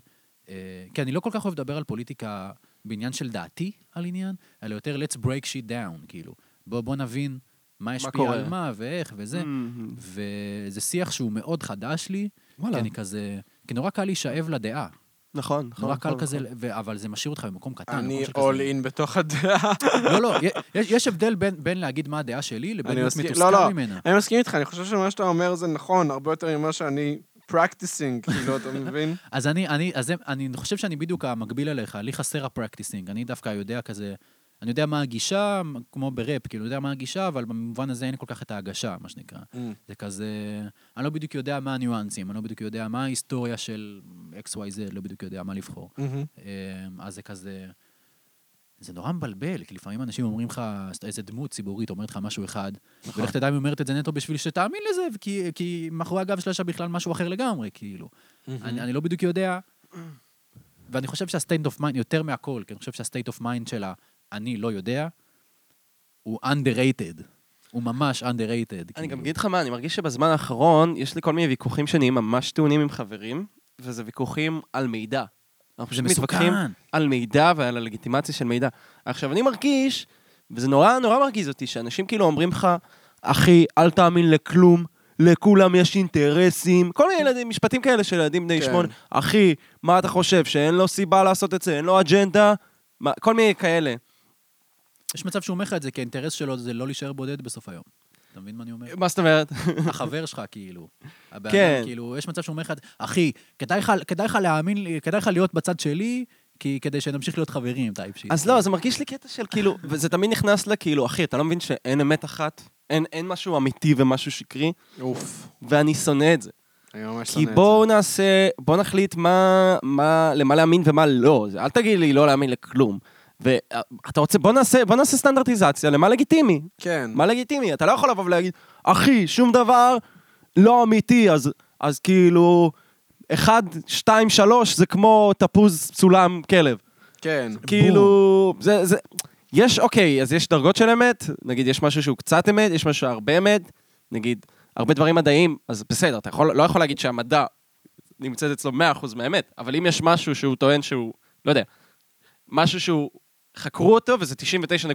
אה, כי אני לא כל כך אוהב לדבר על פוליטיקה בעניין של דעתי על עניין, אלא יותר let's break shit down, כאילו. בוא, בוא נבין מה השפיע
קורה? Mm-hmm.
על מה ואיך וזה.
מהמם.
וזה שיח שהוא מאוד חדש לי,
וואלה.
כי אני כזה... כי נורא קל להישאב לדעה.
נכון, נכון.
נורא קל
נכון,
כזה,
נכון.
ו- אבל זה משאיר אותך במקום קטן.
אני
במקום של
אול
כזה-
אין בתוך הדעה.
לא, לא, יש, יש הבדל בין, בין להגיד מה הדעה שלי לבין
אני
להיות
מסכים-
מתוסכל
לא, לא.
ממנה.
אני מסכים איתך, אני חושב שמה שאתה אומר זה נכון, הרבה יותר ממה שאני practicing, כאילו, אתה מבין?
אז אני, אני, אז זה, אני חושב שאני בדיוק המקביל אליך, לי חסר הפרקטיסינג, אני דווקא יודע כזה, אני יודע מה הגישה, כמו בראפ, כאילו, יודע מה הגישה, אבל במובן הזה אין כל כך את ההגשה, מה שנקרא.
Mm.
זה כזה, אני לא בדיוק יודע מה הניואנסים, אני לא בדיוק יודע מה ההיסטוריה של XYZ, לא בדיוק יודע מה לבחור.
מהמם.
אמ, אז זה כזה, זה נורא מבלבל, כי לפעמים אנשים אומרים לך, איזה דמות ציבורית אומרת לך משהו אחד,
נכון.
ולך תדע אם היא אומרת את זה נטו בשביל שתאמין לזה, כי- כי מאחורי הגב שלה יש בכלל משהו אחר לגמרי, כאילו. אני אני לא בדיוק יודע, ואני חושב שהסטייט אוף מיינד, יותר מהכל, כי אני חושב שהסטייט אוף מיינד של ה"אני לא יודע", הוא underrated. הוא ממש underrated.
אני גם
כאילו.
אגיד לך מה, אני מרגיש שבזמן האחרון יש לי כל מיני ויכוחים שנהיים ממש טעונים עם חברים, וזה ויכוחים על מידע. אנחנו
זה
פשוט מתווכחים
מסוכן.
על מידע ועל הלגיטימציה של מידע. עכשיו, אני מרגיש, וזה נורא נורא מרגיז אותי, שאנשים כאילו אומרים לך, אחי, אל תאמין לכלום, לכולם יש אינטרסים, כל מיני ילדים, משפטים כאלה של ילדים בני
כן.
שמונה, אחי, מה אתה חושב, שאין לו סיבה לעשות את זה, אין לו אג'נדה, מה- כל מיני כאלה.
יש מצב שהוא אומר לך את זה, כי האינטרס שלו זה לא להישאר בודד בסוף היום. אתה מבין מה אני אומר?
מה זאת אומרת?
החבר שלך, כאילו. הבן
כן.
אדם, כאילו, יש מצב שהוא אומר לך, אחי, כדאי לך- כדאי לך להאמין, לי- כדאי לך להיות בצד שלי, כי כדי שנמשיך להיות חברים, טייפ
כאילו.
שיט.
אז לא, זה מרגיש לי קטע של כאילו, וזה תמיד נכנס לכאילו, אחי, אתה לא מבין שאין אמת אחת? אין, אין משהו אמיתי ומשהו שקרי?
אוף,
ואני שונא את זה.
אני ממש
כי
שונא את
בואו נעשה, בואו נחליט מה, מה, למה להאמין ומה לא. זה- אל תגיד לי לא להאמין לכלום. ואתה רוצה, בוא נעשה, בוא נעשה סטנדרטיזציה למה לגיטימי.
כן.
מה לגיטימי? אתה לא יכול לבוא ולהגיד, אחי, שום דבר לא אמיתי, אז, אז כאילו, אחד, שתיים, שלוש, זה כמו תפוז צולם כלב.
כן.
כאילו, זה, זה, יש, אוקיי, אז יש דרגות של אמת, נגיד יש משהו שהוא קצת אמת, יש משהו שהרבה אמת, נגיד, הרבה דברים מדעיים, אז בסדר, אתה יכול, לא יכול להגיד שהמדע נמצאת אצלו 100% מהאמת, אבל אם יש משהו שהוא טוען שהוא, לא יודע, משהו שהוא, חקרו אותו וזה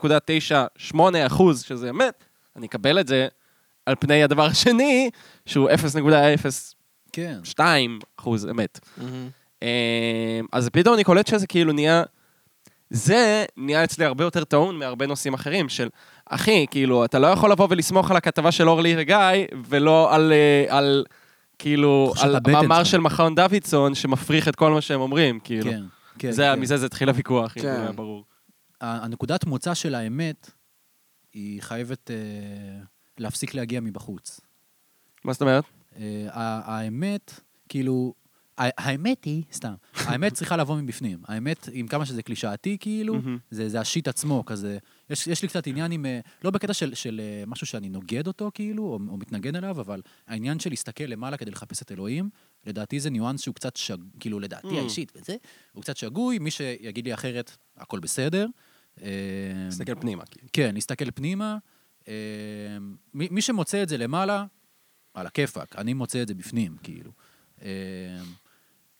99.98%, שזה אמת, אני אקבל את זה על פני הדבר השני, שהוא 0.02%
כן.
אמת.
מהמם.
אמ, אז פתאום אני קולט שזה כאילו נהיה... זה נהיה אצלי הרבה יותר טעון מהרבה נושאים אחרים של, אחי, כאילו, אתה לא יכול לבוא ולסמוך על הכתבה של אורלי וגיא, ולא על, אה, על כאילו,
תחושת
על
הבטן
מאמר
שלך.
של מכון דוידסון שמפריך את כל מה שהם אומרים, כאילו.
כן, כן.
זה,
כן.
מזה זה התחיל הוויכוח,
כן.
כאילו, היה ברור.
ה- הנקודת מוצא של האמת, היא חייבת אה, להפסיק להגיע מבחוץ.
מה זאת אומרת?
אה, ה- האמת, כאילו, ה- האמת היא, סתם, האמת צריכה לבוא מבפנים. האמת, עם כמה שזה קלישאתי, כאילו,
מהמם.
זה זה השיט עצמו, כזה. יש יש לי קצת עניין עם, אה, לא בקטע של- של אה, משהו שאני נוגד אותו, כאילו, או או מתנגד אליו, אבל העניין של להסתכל למעלה כדי לחפש את אלוהים, לדעתי זה ניואנס שהוא קצת שג... כאילו, לדעתי האישית וזה, הוא קצת שגוי, מי שיגיד לי אחרת, הכל בסדר. אה,
תסתכל פנימה, כאילו.
כן, להסתכל פנימה. אה, מי, מי שמוצא את זה למעלה, על הכיפאק, אני מוצא את זה בפנים, כאילו. אה,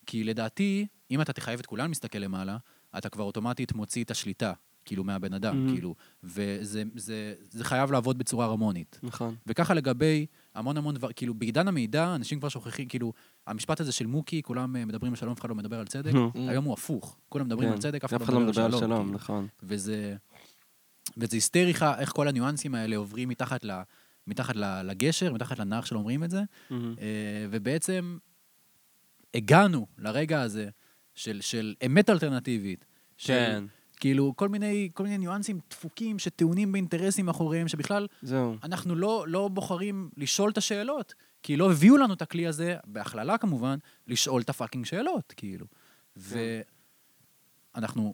כי לדעתי, אם אתה תחייב את כולם להסתכל למעלה, אתה כבר אוטומטית מוציא את השליטה, כאילו, מהבן אדם,
Mhm.
כאילו. וזה זה, זה חייב לעבוד בצורה הרמונית.
נכון.
וככה לגבי המון המון דבר, כאילו, בעידן המידע, אנשים כבר שוכחים, כאילו, המשפט הזה של מוקי, כולם אה, מדברים על שלום, אף אחד לא מדבר על צדק,
נו.
היום הוא הפוך. כולם מדברים
כן.
על צדק, אף אחד לא מדבר על שלום. כאילו.
נכון.
וזה, וזה היסטרי לך איך כל הניואנסים האלה עוברים מתחת, ל, מתחת ל, לגשר, מתחת לנהר שלא אומרים את זה.
Mm-hmm.
אה, ובעצם הגענו לרגע הזה של, של אמת אלטרנטיבית. של,
כן,
כאילו, כל מיני, כל מיני ניואנסים דפוקים שטעונים באינטרסים אחוריהם, שבכלל
זהו.
אנחנו לא, לא בוחרים לשאול את השאלות, כי לא הביאו לנו את הכלי הזה, בהכללה כמובן, לשאול את הפאקינג שאלות, כאילו. ואנחנו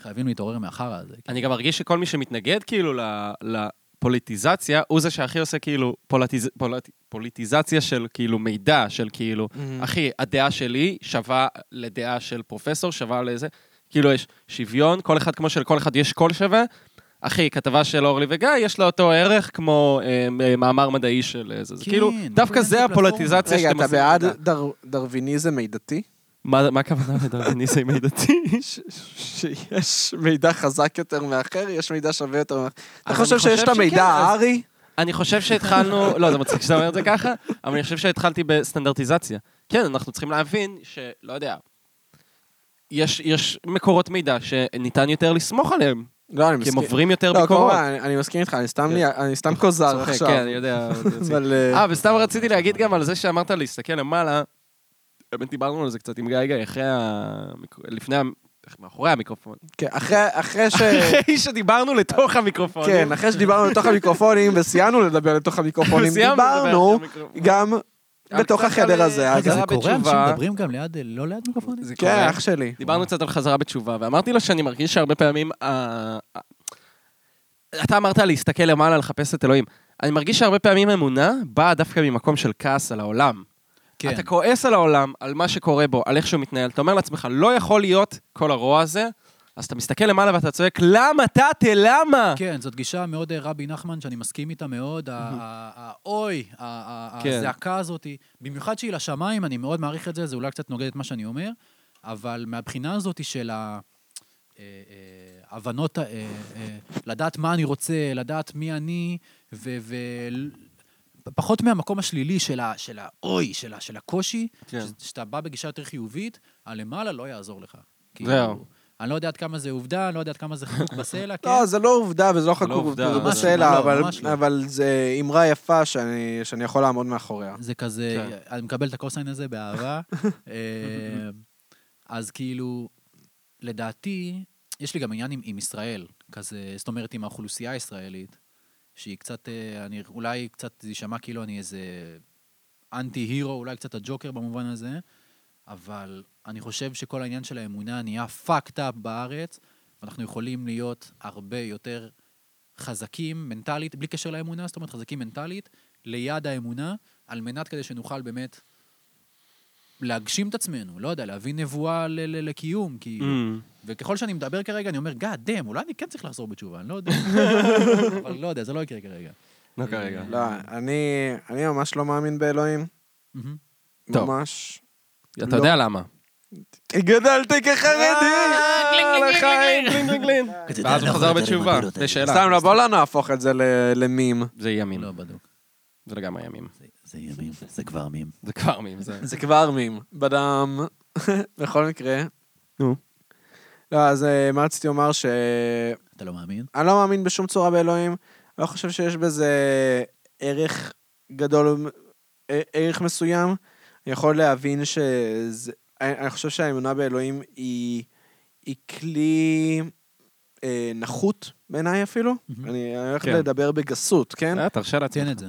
חייבים להתעורר מהחרא הזה. כאילו.
אני גם מרגיש שכל מי שמתנגד כאילו ל- לפוליטיזציה, הוא זה שהכי עושה כאילו פולטיז... פולט... פוליטיזציה של כאילו מידע, של כאילו,
Mm-hmm.
מהמם.
אחי, הדעה שלי שווה לדעה של פרופסור, שווה לזה, כאילו יש שוויון, כל אחד כמו שלכל אחד יש קול שווה. אחי, כתבה של אורלי וגיא, יש לה אותו ערך כמו אה, אה, מאמר מדעי של איזה, זה
כן,
כאילו,
בואו
דווקא
נעשה
זה
פלטפורמה.
הפוליטיזציה
רגע,
שאתם
אתה
עושים.
בעד
למידע.
דר- דרוויניזם מידתי?
מה מה הכוונה לדרוויניזם מידתי?
ש- ש- שיש מידע חזק יותר מאחר, יש מידע שווה יותר מאחר. אתה
אני
חושב שיש את
חושב
המידע
שכן, אז-
הארי?
אני חושב שהתחלנו, לא, זה מצחיק שאתה אומר את זה ככה, אבל אני חושב שהתחלתי בסטנדרטיזציה. כן, אנחנו צריכים להבין שלא יודע, יש, יש מקורות מידע שניתן יותר לסמוך עליהם,
לא, אני
כי הם
מסכים.
עוברים יותר
לא,
ביקורות.
כמובן, אני- אני מסכים איתך, אני סתם
כן.
לי- אני סתם כוזר
צוחק,
עכשיו.
כן, אני יודע.
אבל... אה,
אה, וסתם רציתי להגיד גם על זה שאמרת להסתכל למעלה, באמת דיברנו על זה קצת עם גיא גיא, אחרי ה... לפני ה... מאחורי המיקרופון.
כן, אחרי- אחרי ש...
אחרי שדיברנו לתוך המיקרופון.
כן, אחרי שדיברנו לתוך המיקרופונים וסיימנו לדבר לתוך המיקרופונים, דיברנו גם אה, בתוך החדר הזה. אז-
רגע, זה
חזרה
קורה? אנשים
בתשובה.
מדברים גם ליד, לא ליד מיקרופונים?
זה
כן,
קורה.
אח שלי.
דיברנו קצת על חזרה בתשובה, ואמרתי לו שאני מרגיש שהרבה פעמים... אה, אה, אתה אמרת להסתכל למעלה, לחפש את אלוהים. אני מרגיש שהרבה פעמים אמונה באה דווקא ממקום של כעס על העולם.
כן.
אתה כועס על העולם, על מה שקורה בו, על איך שהוא מתנהל. אתה אומר לעצמך, לא יכול להיות כל הרוע הזה, אז אתה מסתכל למעלה ואתה צועק, למה, תתה, למה?
כן, זאת גישה מאוד אה, רבי נחמן, שאני מסכים איתה מאוד. ה- ה- האוי, ה- ה-
כן.
הזעקה הזאת, במיוחד שהיא לשמיים, אני מאוד מעריך את זה, זה אולי קצת נוגד את מה שאני אומר, אבל מהבחינה הזאת של ה... אה, אה, הבנות, ה- אה, אה, לדעת מה אני רוצה, לדעת מי אני, ו... ו- פחות מהמקום השלילי של ה- של האוי, של ה- של הקושי,
כן.
ש- שאתה בא בגישה יותר חיובית, הלמעלה לא יעזור לך. כאילו,
זהו.
אני לא יודע עד כמה זה עובדה, אני לא יודע עד כמה זה חקוק בסלע, כן?
לא, זה לא עובדה וזה לא חקוק
עובדה.
זה
ממש לא,
בסלע,
לא,
אבל-
ממש לא.
אבל זה אמרה יפה שאני שאני יכול לעמוד מאחוריה.
זה כזה, אני מקבל את הקוסיין הזה באהבה. אה, אז כאילו, לדעתי, יש לי גם עניין עם, עם ישראל, כזה, זאת אומרת, עם האוכלוסייה הישראלית, שהיא קצת, אה, אני אולי קצת, זה יישמע כאילו אני איזה אנטי-הירו, אולי קצת הג'וקר במובן הזה, אבל אני חושב שכל העניין של האמונה נהיה fucked up בארץ, ואנחנו יכולים להיות הרבה יותר חזקים מנטלית, בלי קשר לאמונה, זאת אומרת חזקים מנטלית, ליד האמונה, על מנת כדי שנוכל באמת להגשים את עצמנו, לא יודע, להביא נבואה ל- ל- לקיום,
Mm.
כאילו. וככל שאני מדבר כרגע, אני אומר, God damn, אולי אני כן צריך לחזור בתשובה, אני לא יודע. אבל לא יודע, זה לא יקרה כרגע.
לא כרגע.
לא, אני, אני ממש לא מאמין באלוהים.
מהמם.
טוב.
ממש.
אתה יודע
לא.
למה.
גדלתי כחרדי!
ואז
לא
הוא חזר בתשובה. זה שאלה.
סתם, לא, בוא לא נהפוך את זה ל- למים.
זה ימים.
לא בדוק.
זה לגמרי ימים.
זה- זה ימים, זה כבר מים.
זה כבר מים. זה-
זה כבר מים. בדם. בכל מקרה.
נו.
לא, אז אה, מה רציתי לומר? שאני
אתה לא מאמין?
לא מאמין בשום צורה באלוהים. לא חושב שיש בזה ערך גדול, אה, ערך מסוים. אני יכול להבין שזה... אני אני חושב שהאמונה באלוהים היא, היא כלי אה, נחות בעיניי אפילו.
מהמם.
אני הולך
כן.
לדבר בגסות, כן?
אה, תרשה לעצמך.
ציין את זה.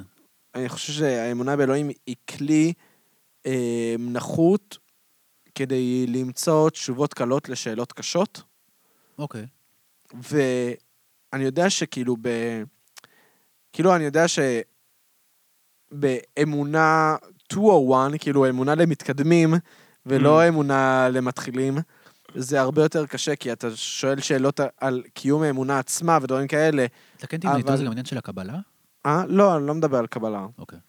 אני חושב שהאמונה באלוהים היא כלי אה, נחות כדי למצוא תשובות קלות לשאלות קשות,
אוקיי.
ואני יודע שכאילו ב... כאילו, אני יודע שבאמונה 201, כאילו אמונה למתקדמים,
Mm.
ולא אמונה למתחילים, זה הרבה יותר קשה, כי אתה שואל שאלות על קיום האמונה עצמה ודברים כאלה.
אתה כן תבנה
אבל-
איתו, זה גם עניין של הקבלה?
אה? לא, אני לא מדבר על קבלה.
אוקיי.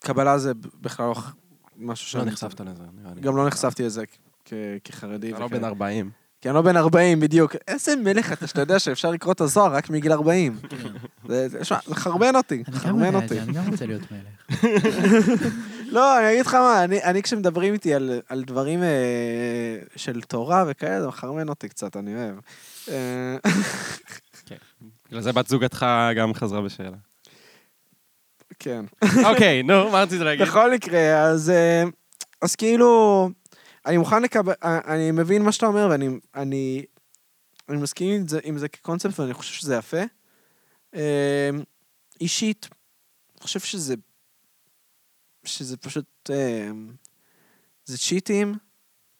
קבלה זה בכלל לא ח- משהו שאני...
לא נחשפת לזה, נראה לי.
גם לא נחשפתי לזה כ- כ- כחרדי.
אתה לא
וכ-
בן 40.
כי אני לא בן 40, בדיוק. איזה מלך אתה שאתה יודע שאפשר לקרוא את הזוהר רק מגיל 40. זה- זה- שמע, זה חרבן אותי, חרבן אותי.
אה, אני גם רוצה להיות מלך.
לא, אני אגיד לך מה, אני- אני כשמדברים איתי על- על דברים אה, של תורה וכאלה, זה מחרמן אותי קצת, אני אוהב. אה,
בגלל זה בת זוגתך גם חזרה בשאלה.
כן.
אוקיי, נו, מה רצית להגיד?
בכל מקרה, אז, אה, אז כאילו, אני מוכן לקבל, אה, אני מבין מה שאתה אומר, ואני אני, אני מסכים עם זה, עם זה כקונספט, ואני חושב שזה יפה. אה, אישית, אני חושב שזה, שזה פשוט, אה, זה צ'יטים.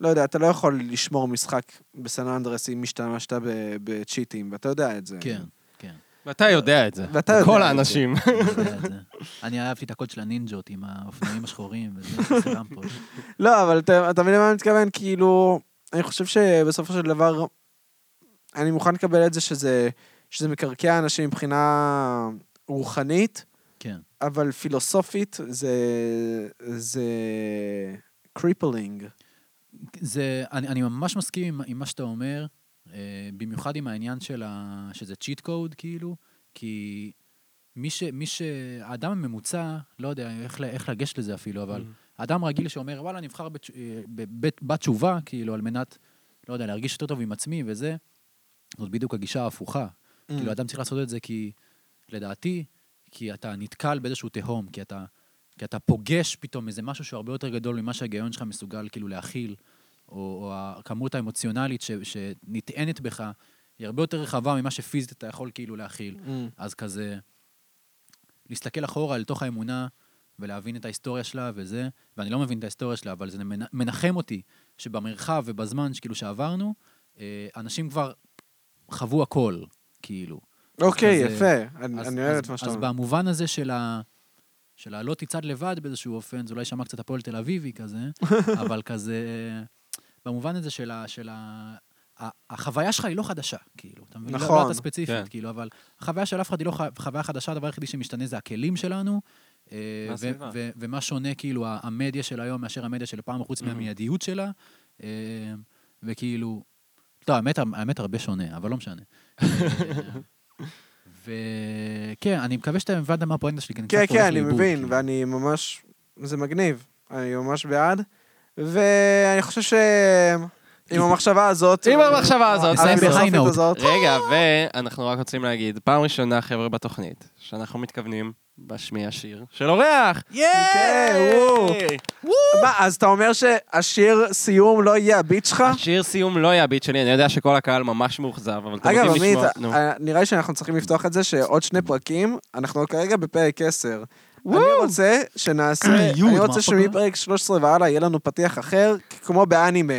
לא יודע, אתה לא יכול לשמור משחק בסן אנדרס אם השתמשת ב- בצ'יטים, ואתה יודע את זה.
כן, כן.
ואתה יודע את זה.
ואתה יודע
כל
את זה.
האנשים.
אני יודע את זה. אני אהבתי את הקוד של הנינג'ות עם האופנועים השחורים וזה, זה גם פה.
לא, אבל אתה אתה מבין למה אני מתכוון? כאילו, אני חושב שבסופו של דבר, אני מוכן לקבל את זה שזה, שזה מקרקע אנשים מבחינה רוחנית,
כן.
אבל פילוסופית זה... זה... קריפלינג.
זה, אני, אני ממש מסכים עם, עם מה שאתה אומר, אה, במיוחד עם העניין של ה, שזה צ'יט קוד, כאילו, כי מי ש... מי ש האדם הממוצע, לא יודע איך, ל- איך לגשת לזה אפילו, אבל האדם רגיל שאומר, וואלה, נבחר בת, אה, בתשובה, כאילו, על מנת, לא יודע, להרגיש יותר טוב עם עצמי וזה, זאת בדיוק הגישה ההפוכה. כאילו, אדם צריך לעשות את זה כי, לדעתי, כי אתה נתקל באיזשהו תהום, כי אתה, כי אתה פוגש פתאום איזה משהו שהוא הרבה יותר גדול ממה שההיגיון שלך מסוגל כאילו להכיל, או, או הכמות האמוציונלית ש, שנטענת בך, היא הרבה יותר רחבה ממה שפיזית אתה יכול כאילו להכיל. אז כזה, להסתכל אחורה אל תוך האמונה ולהבין את ההיסטוריה שלה וזה, ואני לא מבין את ההיסטוריה שלה, אבל זה מנ- מנחם אותי שבמרחב ובזמן שכאילו שעברנו, אה, אנשים כבר חוו הכל, כאילו.
אוקיי,
אז כזה-
יפה. אני אני אוהב את מה שאתה
אז
אומר.
במובן הזה של ה... של הלא תצעד לבד באיזשהו אופן, זה אולי שמע קצת הפועל תל אביבי כזה, אבל כזה... במובן הזה של ה... של ה... ה- החוויה שלך היא לא חדשה, כאילו. אתה מבין? לא-
נכון.
לא אתה ספציפית,
כן.
כאילו, אבל החוויה של אף אחד היא לא ח- חוויה חדשה, הדבר היחידי שמשתנה זה הכלים שלנו, אה, ו-
והסביבה.
ו- ומה שונה, כאילו, ה- המדיה של היום מאשר המדיה של פעם, חוץ מהמיידיות שלה, אה, וכאילו... לא, האמת, האמת הרבה שונה, אבל לא משנה. אה, וכן, אני מקווה שאתה הבנת מה הפואנטה שלי, כי אני
כן,
קצת
כן,
הולך
אני
לאיבוד,
מבין,
כאילו.
ואני ממש... זה מגניב. אני ממש בעד. ואני חושב ש... עם המחשבה הזאת...
עם המחשבה הזאת.
נסיים
בסוף.
ב-high note.
הזאת.
רגע, ואנחנו רק רוצים להגיד, פעם ראשונה, חבר'ה, בתוכנית, שאנחנו מתכוונים להשמיע שיר של אורח.
אה,
כן, וואו. מה, אז אתה אומר שהשיר סיום לא יהיה הביט שלך?
השיר סיום לא יהיה הביט שלי, אני יודע שכל הקהל ממש מאוכזב, אבל אתם
אגב,
רוצים
עמית,
לשמוע... נו.
אה, נראה לי שאנחנו צריכים לפתוח את זה שעוד שני פרקים, אנחנו כרגע בפרק 10. אני רוצה שנעשה,
אה, יוד,
אני רוצה
מה,
שמפרק 13 והלאה יהיה לנו פתיח אחר, כמו באנימה.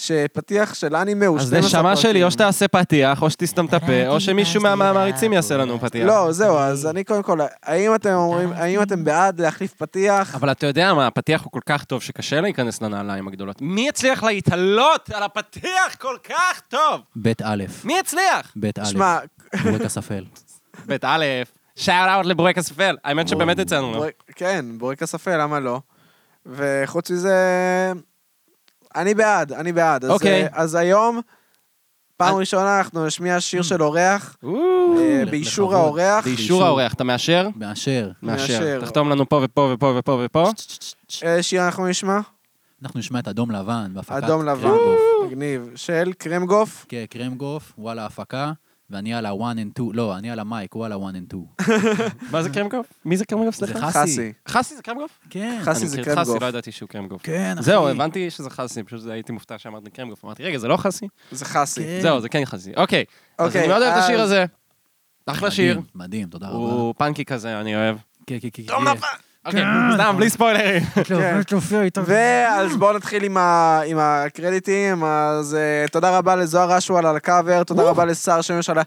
שפתיח של אנימה הוא 12
אז
פרקים.
נשמה שלי, או שתעשה פתיח, או שתסתם את הפה, או שמישהו מה- מהמעריצים יעשה לנו פתיח.
לא, זהו, אז אני קודם כל, האם אתם אומרים,
אה.
האם אתם בעד להחליף פתיח?
אבל אתה יודע מה, הפתיח הוא כל כך טוב שקשה להיכנס לנעליים הגדולות. מי יצליח להתעלות על הפתיח כל כך טוב?
בית א',
מי יצליח?
בית א',
שמע,
בורקס אפל.
בית א', שאל אאוט לברואק הספל. האמת שבאמת יצאנו לו.
בור- כן, בורק הספל, למה לא? וחוץ מזה, אני בעד, אני בעד. אז,
אוקיי.
אה, אז היום, פעם
אני-
ראשונה אנחנו נשמיע שיר של אורח,
וואו.
אה,
לכבוד.
באישור האורח.
באישור האורח, אתה מאשר?
מאשר.
מאשר.
מאשר. תחתום לנו פה ופה ופה ופה ופה.
אה, שיר אנחנו נשמע?
אנחנו נשמע את אדום לבן בהפקת
אדום לבן.
קרמגוף.
מגניב. של קרמגוף?
כן, קרמגוף, וואלה הפקה, ואני על ה-one and two, לא, אני על המייק, וואלה one and two.
מה זה קרמגוף? מי זה קרמגוף?
זה
סליחה.
חסי.
חסי זה קרמגוף?
כן.
חסי
אני
זה
מכיר את
קרמגוף.
חסי, לא ידעתי שהוא קרמגוף.
כן, אחי.
זהו, הבנתי שזה חסי, פשוט זה- הייתי מופתע שאמרת לי קרמגוף. אמרתי, רגע, זה לא חסי?
זה חסי.
כן.
זהו, זה כן חסי. אוקיי. אז
אוקיי,
אני מאוד אוהב את
אז-
השיר הזה. אחלה
מדהים,
שיר.
מדהים, תודה רבה.
הוא פאנקי כזה, אני אוהב.
כן, כן, לא, כן.
אדום לבן! אוקיי, סתם,
אה.
בלי ספוילרים.
כן. ואז בואו נתחיל עם ה- עם הקרדיטים, אז אה, תודה רבה לזוהר אשואל על הקאבר, תודה רבה לשר שמש על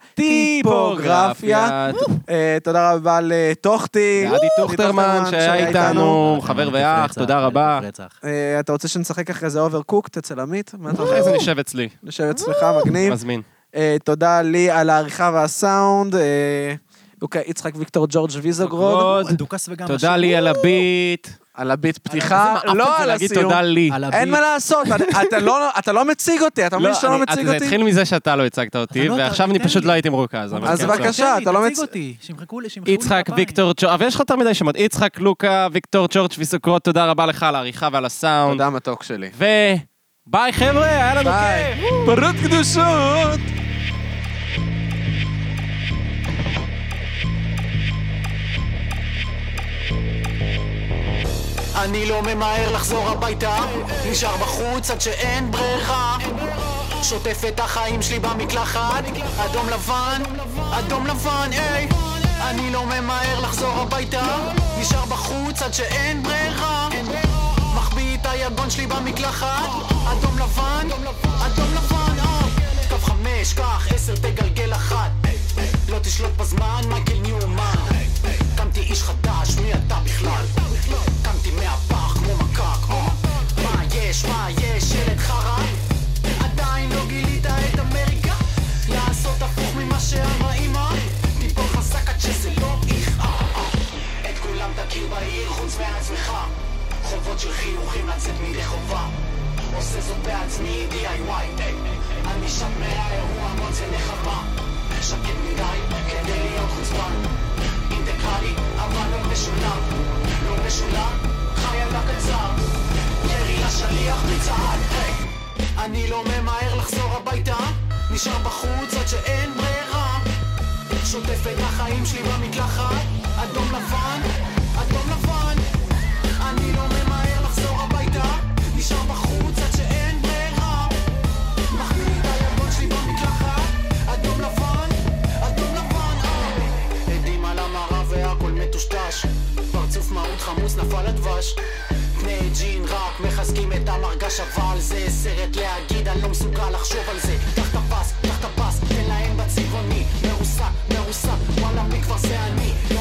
הטיפוגרפיה, אה, תודה רבה לטוחטי.
ועדי טוכטרמן שהיה איתנו,
אה,
חבר
אלף
ואח,
רצח,
תודה
אלף
רבה.
רצח.
אה, אתה רוצה שנשחק אחרי זה אוברקוקט אצל עמית? מה אתה
אחרי
אומר?
אה, זה נשב אצלי,
נשב אצלך, מגניב.
מזמין.
אה, תודה לי על העריכה והסאונד. אה, אוקיי, יצחק ויקטור גורג' ויזוגרוד.
עוד.
דוכס וגם
תודה לי על הביט.
על הביט פתיחה,
איזה מעפן
לא
זה
על
להגיד
הסיום.
תודה לי.
על הביט.
אין מה לעשות, אתה- אתה לא- אתה לא מציג אותי, אתה מבין שאתה לא
אני-
מציג
זה
אותי?
התחיל מזה שאתה לא הצגת אותי,
אתה לא-
ועכשיו
אתה-
אני
תן
פשוט
לי.
לא הייתי מרוכז. אבל
אז
כן,
בבקשה,
בסדר.
אתה לא
אוקיי. תציג
מצ-
אותי, שימחאו לי, שימחאו לי
יצחק,
כפיים.
ויקטור, צ'ור- אבל יש לך יותר מדי שמות. יצחק, לוקה, ויקטור, צ'ורץ' ויסוקרות, תודה רבה לך על העריכה ועל הסאונד.
תודה מתוק שלי.
וביי חבר'ה, היה לנו
ביי.
כיף.
פרות קדושות!
אני לא ממהר לחזור הביתה, נשאר בחוץ עד שאין ברירה. שוטף את החיים שלי במקלחת, אדום לבן, אדום לבן, היי. אני לא ממהר לחזור הביתה, נשאר בחוץ עד שאין ברירה. מחביא את היגון שלי במקלחת, אדום לבן, אדום לבן, אה. קו חמש, קח עשר, תגלגל אחת. לא תשלוט בזמן, מייקל ניומן. קמתי איש חדש, מי אתה בכלל? קמתי מהפח כמו מקק, אה. מה יש, מה יש, ילד חרא? עדיין לא גילית את אמריקה? לעשות הפוך ממה שאמרה אמא? תיפול חזק עד שזה לא יכאב. את כולם תכיר בעיר חוץ מעצמך חובות של חיוכים לצאת מידי חובה עושה זאת בעצמי DIY היי. אני שם מהאירוע מוצא נחמה שקט מדי כדי להיות חוצפן אינטגרלי אבל לא משולם לא משולם חי על הקצר ירי לשליח מצה"ל היי. אני לא ממהר לחזור הביתה נשאר בחוץ עד שאין ברירה שוטף את החיים שלי במקלחת, אדום לבן, אדום לבן. אני לא ממהר לחזור הביתה, נשאר בחוץ עד שאין ברירה. מחמיא את הילדות שלי במקלחת, אדום לבן, אדום לבן. אה. עדים על המראה והכל מטושטש, פרצוף מרות חמוץ נפל הדבש. פני ג'ין רק מחזקים את המרגש אבל זה סרט להגיד אני לא מסוגל לחשוב על זה קח את הפס, קח את הפס, תן להם בצבעוני מרוסק, מרוסק, וואלה מי כבר זה אני לא